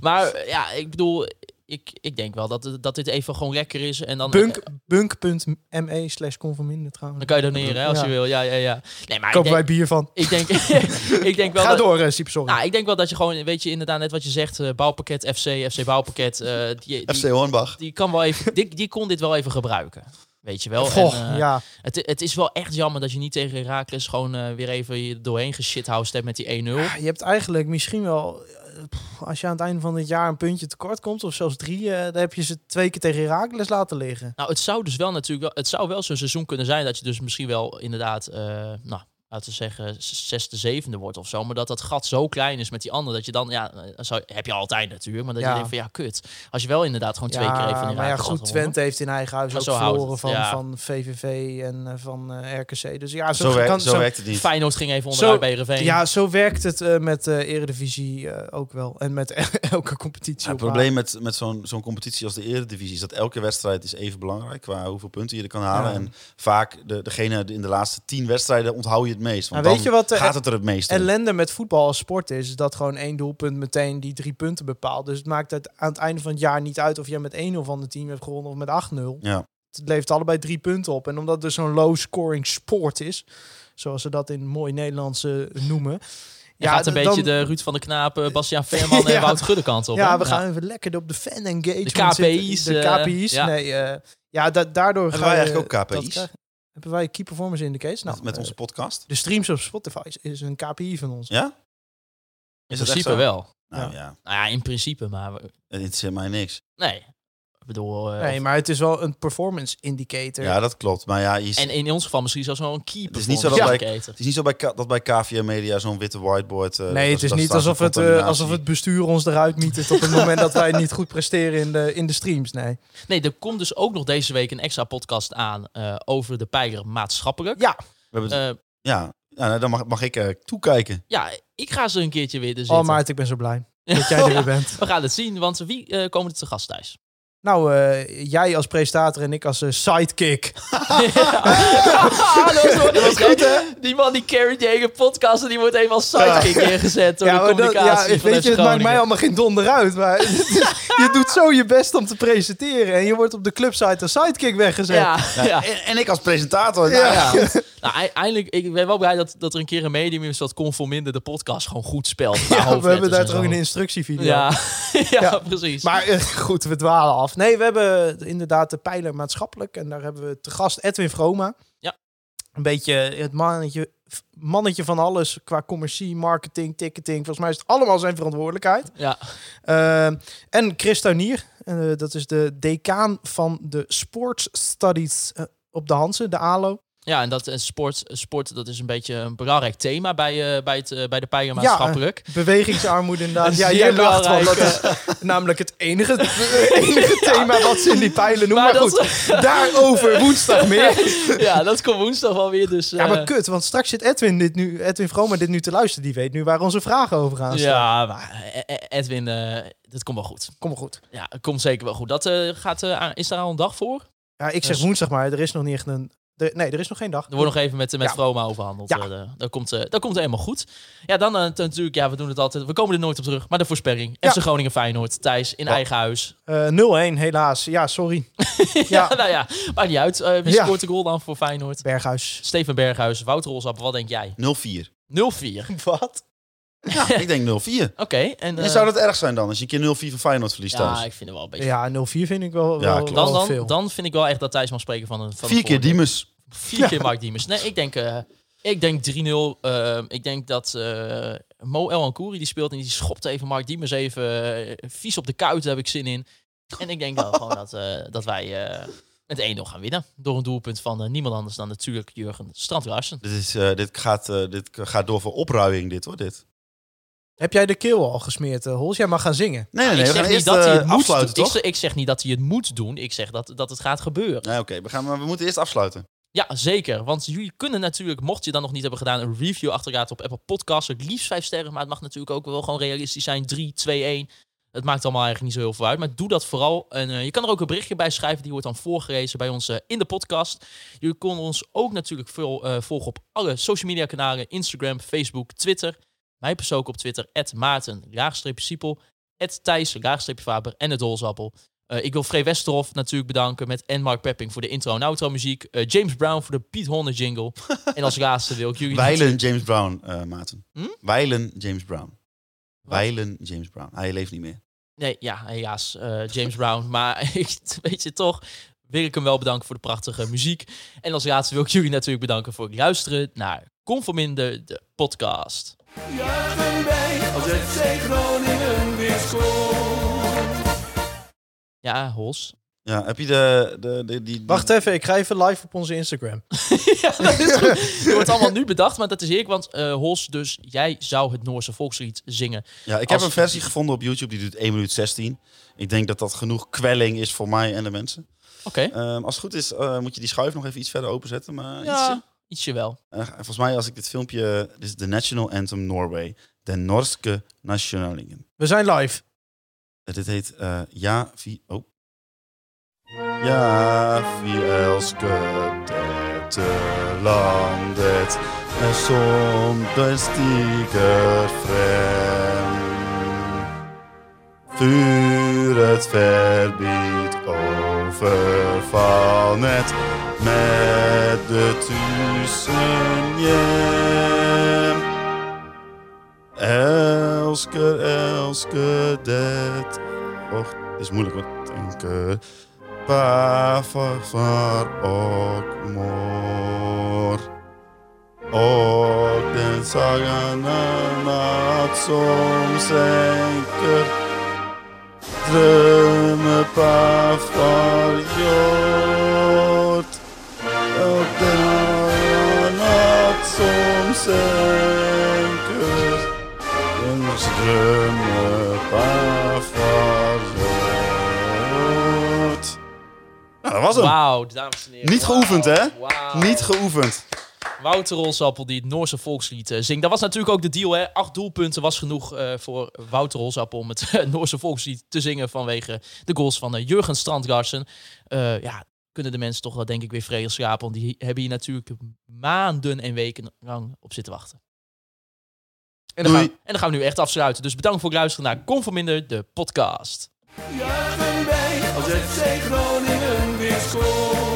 D: Maar eh, ja, ik bedoel, ik, ik denk wel dat, dat dit even gewoon lekker is. En dan,
F: Bunk- Bunk.me slash conforminder trouwens.
D: dan kan je doneren hè, als
F: Ja.
D: je wil. Ja, ja, ja. Nee, maar ik
F: Kopen wij
D: denk,
F: bier van.
D: ik denk, ik denk wel
F: Ga
D: dat,
F: door, eh, Siep, sorry.
D: Nou, ik denk wel dat je gewoon, weet je, inderdaad net wat je zegt, eh, bouwpakket FC, FC bouwpakket, eh, die,
E: FC
D: die,
E: Hornbach.
D: die kan wel even, die, die kon dit wel even gebruiken. Weet je wel.
F: Goh,
D: En, eh,
F: ja.
D: het, het is wel echt jammer dat je niet tegen Herakles gewoon eh, weer even je doorheen geshithoused hebt met die 1-0.
F: Ja, Ah, Je hebt eigenlijk misschien wel, eh, pff, als je aan het einde van het jaar een puntje tekort komt, of zelfs drie, eh, dan heb je ze twee keer tegen Herakles laten liggen.
D: Nou, het zou dus wel natuurlijk wel, het zou wel zo'n seizoen kunnen zijn dat je dus misschien wel inderdaad, eh, nou, laten we zeggen, s- zesde, zevende wordt of zo. Maar dat dat gat zo klein is met die andere, dat je dan, ja, eh, zou, heb je altijd natuurlijk, maar dat
F: Ja.
D: je denkt van ja, kut. Als je wel inderdaad gewoon twee keer even in
F: Ja, maar ja,
D: Heracles
F: goed,
D: had gewonnen.
F: Twente heeft in eigen huis
D: Maar
F: ook
D: zo houdt
F: verloren
D: het,
F: van,
D: ja.
F: van VVV en eh, van eh, RKC. Dus ja, zo,
E: Zo, werkt-
F: kan,
E: zo
F: zo-
E: werkt het niet.
D: Feyenoord ging even onderuit
F: Zo-
D: bij Heerenveen.
F: ja, zo werkt het eh, met eh Eredivisie eh, ook wel. En met elke competitie.
E: Ja, het
F: op aarde.
E: probleem met, met zo'n zo'n competitie als de Eredivisie is dat elke wedstrijd is even belangrijk qua hoeveel punten je er kan halen.
F: Ja.
E: En vaak de, degene in de laatste tien wedstrijden onthoud je het meest. Want
F: Maar weet
E: dan
F: je wat eh, de
E: gaat het er het meest om.
F: ellende met voetbal als sport is, is dat gewoon één doelpunt meteen die drie punten bepaalt. Dus het maakt het aan het einde van het jaar niet uit of jij met 1-0 van het team hebt gewonnen of met 8-0.
E: Ja.
F: Het levert allebei drie punten op. En omdat het dus zo'n low-scoring sport is, zoals ze dat in mooi Nederlands eh, noemen.
D: ja, gaat een
F: d-
D: beetje
F: dan-
D: de Ruud van de Knaap, eh, Bastiaan Veerman en
F: Ja.
D: Wout Gudde kant op.
F: Ja,
D: hè?
F: we gaan even lekker op de fan engagement.
D: De KPI's,
F: zitten. De
D: eh,
F: KPI's.
D: ja.
F: Nee, eh, ja, da- daardoor
E: Hebben
F: ga
E: wij
F: je
E: eigenlijk ook
F: dat
E: KPI's?
F: krijgen. Hebben wij Key Performance Indicators? Nou,
E: met, met
F: eh,
E: onze podcast.
F: de streams op Spotify is, is een KPI van ons.
E: Ja?
D: In
E: Is dat echt
D: principe
E: zo?
D: wel.
E: Nou ja, het
D: Nou ja, in principe, maar we-
E: interesseert mij niks.
D: nee. Ik bedoel, eh,
F: Nee, maar het is wel een performance indicator.
E: Ja, dat klopt. Maar ja, je,
D: en in ons geval misschien zelfs wel een keeper.
E: Het is niet zo dat wij-
D: indicator.
E: het is niet zo bij, K- dat bij KVM Media zo'n witte whiteboard... eh,
F: nee,
E: dat-
F: het is
E: dat
F: niet
E: staat
F: alsof
E: zo'n
F: het, eh,
E: contaminatie.
F: alsof het bestuur ons eruit mietert op het moment dat wij niet goed presteren in de, in de streams. Nee.
D: Nee, er komt dus ook nog deze week een extra podcast aan eh, over de pijler maatschappelijk.
F: Ja.
E: We hebben het-
D: Eh,
E: ja, ja, nou, dan mag, mag ik eh, toekijken.
D: ja, ik ga ze een keertje weer er zitten.
F: Oh, Maarten, ik ben zo blij dat jij er weer bent.
D: We gaan het zien, want wie eh, komen er te gast thuis?
F: Nou, eh, jij als presentator en ik als eh, sidekick.
D: Ah, dat was, goed, hè? Die man die carry die hele podcast en die wordt even als sidekick neergezet door de
F: maar dat-
D: communicatie van
F: weet
D: FC
F: je, het maakt
D: Groningen.
F: mij allemaal geen donder uit. Maar het is- je doet zo je best om te presenteren. En je wordt op de clubsite als sidekick weggezet.
D: Ja, ja.
E: En, en ik als presentator.
D: Nou
E: nou ja.
D: ja. nou, ei- eindelijk, ik ben wel blij dat, dat er een keer een medium is dat conforminder de podcast gewoon goed spelt. qua
F: Ja, we hebben
D: Nou, hoofdletters
F: daar
D: en
F: toch
D: zo.
F: ook een instructievideo.
D: Ja, ja,
F: Ja.
D: precies.
F: Maar eh, goed, we dwalen af. Nee, we hebben inderdaad de pijler maatschappelijk. En daar hebben we te gast Edwin Vroma.
D: Ja.
F: Een beetje het mannetje, mannetje van alles qua commercie, marketing, ticketing. Volgens mij is het allemaal zijn verantwoordelijkheid.
D: ja.
F: Ehm, en Chris Tuinier, eh, dat is de decaan van de Sports Studies eh, op de Hanse, de ALO.
D: Ja, en dat eh, sport, sport dat is een beetje een belangrijk thema bij, eh, bij, het, eh, bij de pijler maatschappelijk.
F: Bewegingsarmoede inderdaad. Ja,
D: Zeer
F: jij lacht wel. Dat
D: belangrijk,
F: is namelijk het enige, enige thema wat ze in die pijlen noemen. Maar,
D: Maar dat-
F: goed, daarover woensdag meer.
D: Ja, dat komt woensdag wel weer. Dus,
F: Ja, maar
D: eh,
F: kut, want straks zit Edwin, dit nu, Edwin Vroma dit nu te luisteren. Die weet nu waar onze vragen over gaan. staan.
D: ja, maar eh, eh, Edwin, eh, dat komt wel goed.
F: Kom maar goed.
D: Ja, dat komt zeker wel goed. Dat, eh, gaat, eh, aan- is daar al een dag voor?
F: Ja, ik zeg
D: Dus-
F: woensdag maar, er is nog niet echt een... er- nee, er is nog geen dag.
D: Er wordt nog even met, met
F: Ja.
D: Vroma overhandeld.
F: Ja.
D: Eh, de- dat, komt, eh, dat komt helemaal goed. Ja, dan eh, t- natuurlijk, ja, we doen het altijd. We komen er nooit op terug. Maar de voorspelling.
F: Ja.
D: FC Groningen Feyenoord, Thijs, in eigen huis.
F: Eh, 0-1, helaas. Ja, sorry.
D: Ja,
F: ja,
D: nou ja, maakt niet uit. Eh, wie
F: Ja.
D: scoort de goal dan voor Feyenoord?
F: Berghuis.
D: Steven Berghuis, Wouter Olsap, wat denk jij?
E: 0-4.
D: 0-4.
F: Wat?
E: Ja, ik denk 0-4.
D: Oké, en...
E: En
D: eh,
E: zou dat erg zijn dan, als je een keer 0-4 van Feyenoord verliest
D: ja,
E: thuis?
D: ik vind het wel een beetje...
F: Ja, 0-4 vind ik wel,
E: Ja,
F: wel,
E: klopt.
F: wel
D: Dan, dan,
F: veel.
D: dan vind ik wel echt dat Thijs mag spreken van een... Van een
E: Vier keer
D: voordeel.
E: Diemers.
D: Vier keer Mark Diemers. Nee, ik denk, eh, ik denk 3-0. Eh, ik denk dat eh, Mo El Ankouri die speelt en die schopt even Mark Diemers even eh, vies op de kuit. Daar heb ik zin in. En ik denk dan gewoon dat, eh, dat wij eh, met 1-0 gaan winnen. Door een doelpunt van eh, niemand anders dan natuurlijk Jurgen Strandlarsen.
E: Dit, is, eh, dit, gaat, eh, dit gaat door voor opruiing, dit hoor. Dit.
F: Heb jij de keel al gesmeerd, eh, Hols? Jij mag gaan zingen.
E: Nee,
D: Ah,
E: nee, nee.
D: ik
E: We
D: zeg
E: gaan
D: niet
E: eerst
D: dat hij het
E: eh,
D: moet
E: afsluiten,
D: doen. Ik,
E: toch?
D: zeg- ik zeg niet dat hij het moet doen. Ik zeg dat, dat het gaat gebeuren.
E: Nee, oké. we gaan maar we moeten eerst afsluiten.
D: Ja, zeker. Want jullie kunnen natuurlijk, mocht je dan nog niet hebben gedaan, een review achterlaten op Apple Podcasts. Het liefst vijf sterren, maar het mag natuurlijk ook wel gewoon realistisch zijn. 3, 2, 1. Het maakt allemaal eigenlijk niet zo heel veel uit. Maar doe dat vooral. En eh, je kan er ook een berichtje bij schrijven. Die wordt dan voorgelezen bij ons eh, in de podcast. Jullie kunnen ons ook natuurlijk veel, eh, volgen op alle social media kanalen. Instagram, Facebook, Twitter. Mij persoonlijk op Twitter. Maarten, laagstreepje Siepel. Thijs, laagstreepje Faber. En het Dolzappel. Eh, ik wil Free Westerhof natuurlijk bedanken met en Mark Pepping voor de intro en outro muziek. Eh, James Brown voor de Piet Honden jingle. en als laatste wil ik jullie...
E: Weilen James Brown, eh Maarten.
D: Hm?
E: Weilen James Brown. Weilen James Brown. Hij leeft niet meer.
D: Nee, ja, helaas. eh, James Brown. Maar ik, weet je toch, wil ik hem wel bedanken voor de prachtige muziek. En als laatste wil ik jullie natuurlijk bedanken voor het luisteren naar Conforminder, de podcast.
A: Juichen wij als FC Groningen weer scoort.
D: Ja, Hos.
E: Ja, heb je de... de, de die, die-
D: eh,
F: Wacht even, ik ga even live op onze Instagram.
D: ja, dat is goed. Het wordt allemaal nu bedacht, maar dat is ik. Want eh, Hos, dus jij zou het Noorse volkslied zingen.
E: Ja, ik
D: Als-
E: heb een versie gevonden op YouTube. Die doet 1 minuut 16. Ik denk dat dat genoeg kwelling is voor mij en de mensen.
D: Oké.
E: Ehm, als het goed is, eh, moet je die schuif nog even iets verder openzetten. Maar ietsje.
D: Ja, ietsje wel.
E: Eh, volgens mij, als ik dit filmpje... Dit is de National Anthem Norway. De Norske Nationalingen.
F: We zijn live.
E: Eh, Dit heet eh, Ja, vi... Oh. Ja, vi elsker dette landet Når solen stiger frem Furet verbit overfallet Med de tusen hjem Elsker, elsker det Och, det is moeilijk wat denken. Pa, far, far och mor. Och den sagan en natt som sänker drömmer pa, far, gjort. Och den natt som sänker ons drummen verloot. Nou, dat was hem.
D: Wauw, dames en heren.
E: Niet
D: Wauw.
E: geoefend, hè?
D: Wauw.
E: Niet geoefend.
D: Wouter Rolsappel die het Noorse volkslied eh, zingt. Dat was natuurlijk ook de deal, hè? Acht doelpunten was genoeg eh, voor Wouter Rolsappel om het eh, Noorse volkslied te zingen vanwege de goals van eh, Jurgen Strandgarsen. Eh, ja, kunnen de mensen toch wel denk ik weer vredig slapen, want die hebben hier natuurlijk maanden en weken lang op zitten wachten. En dan, gaan,
E: Doei.
D: en dan gaan we nu echt afsluiten. Dus bedankt voor het luisteren naar Conforminder, de podcast.
A: Juichen wij als FC Groningen weer scoort.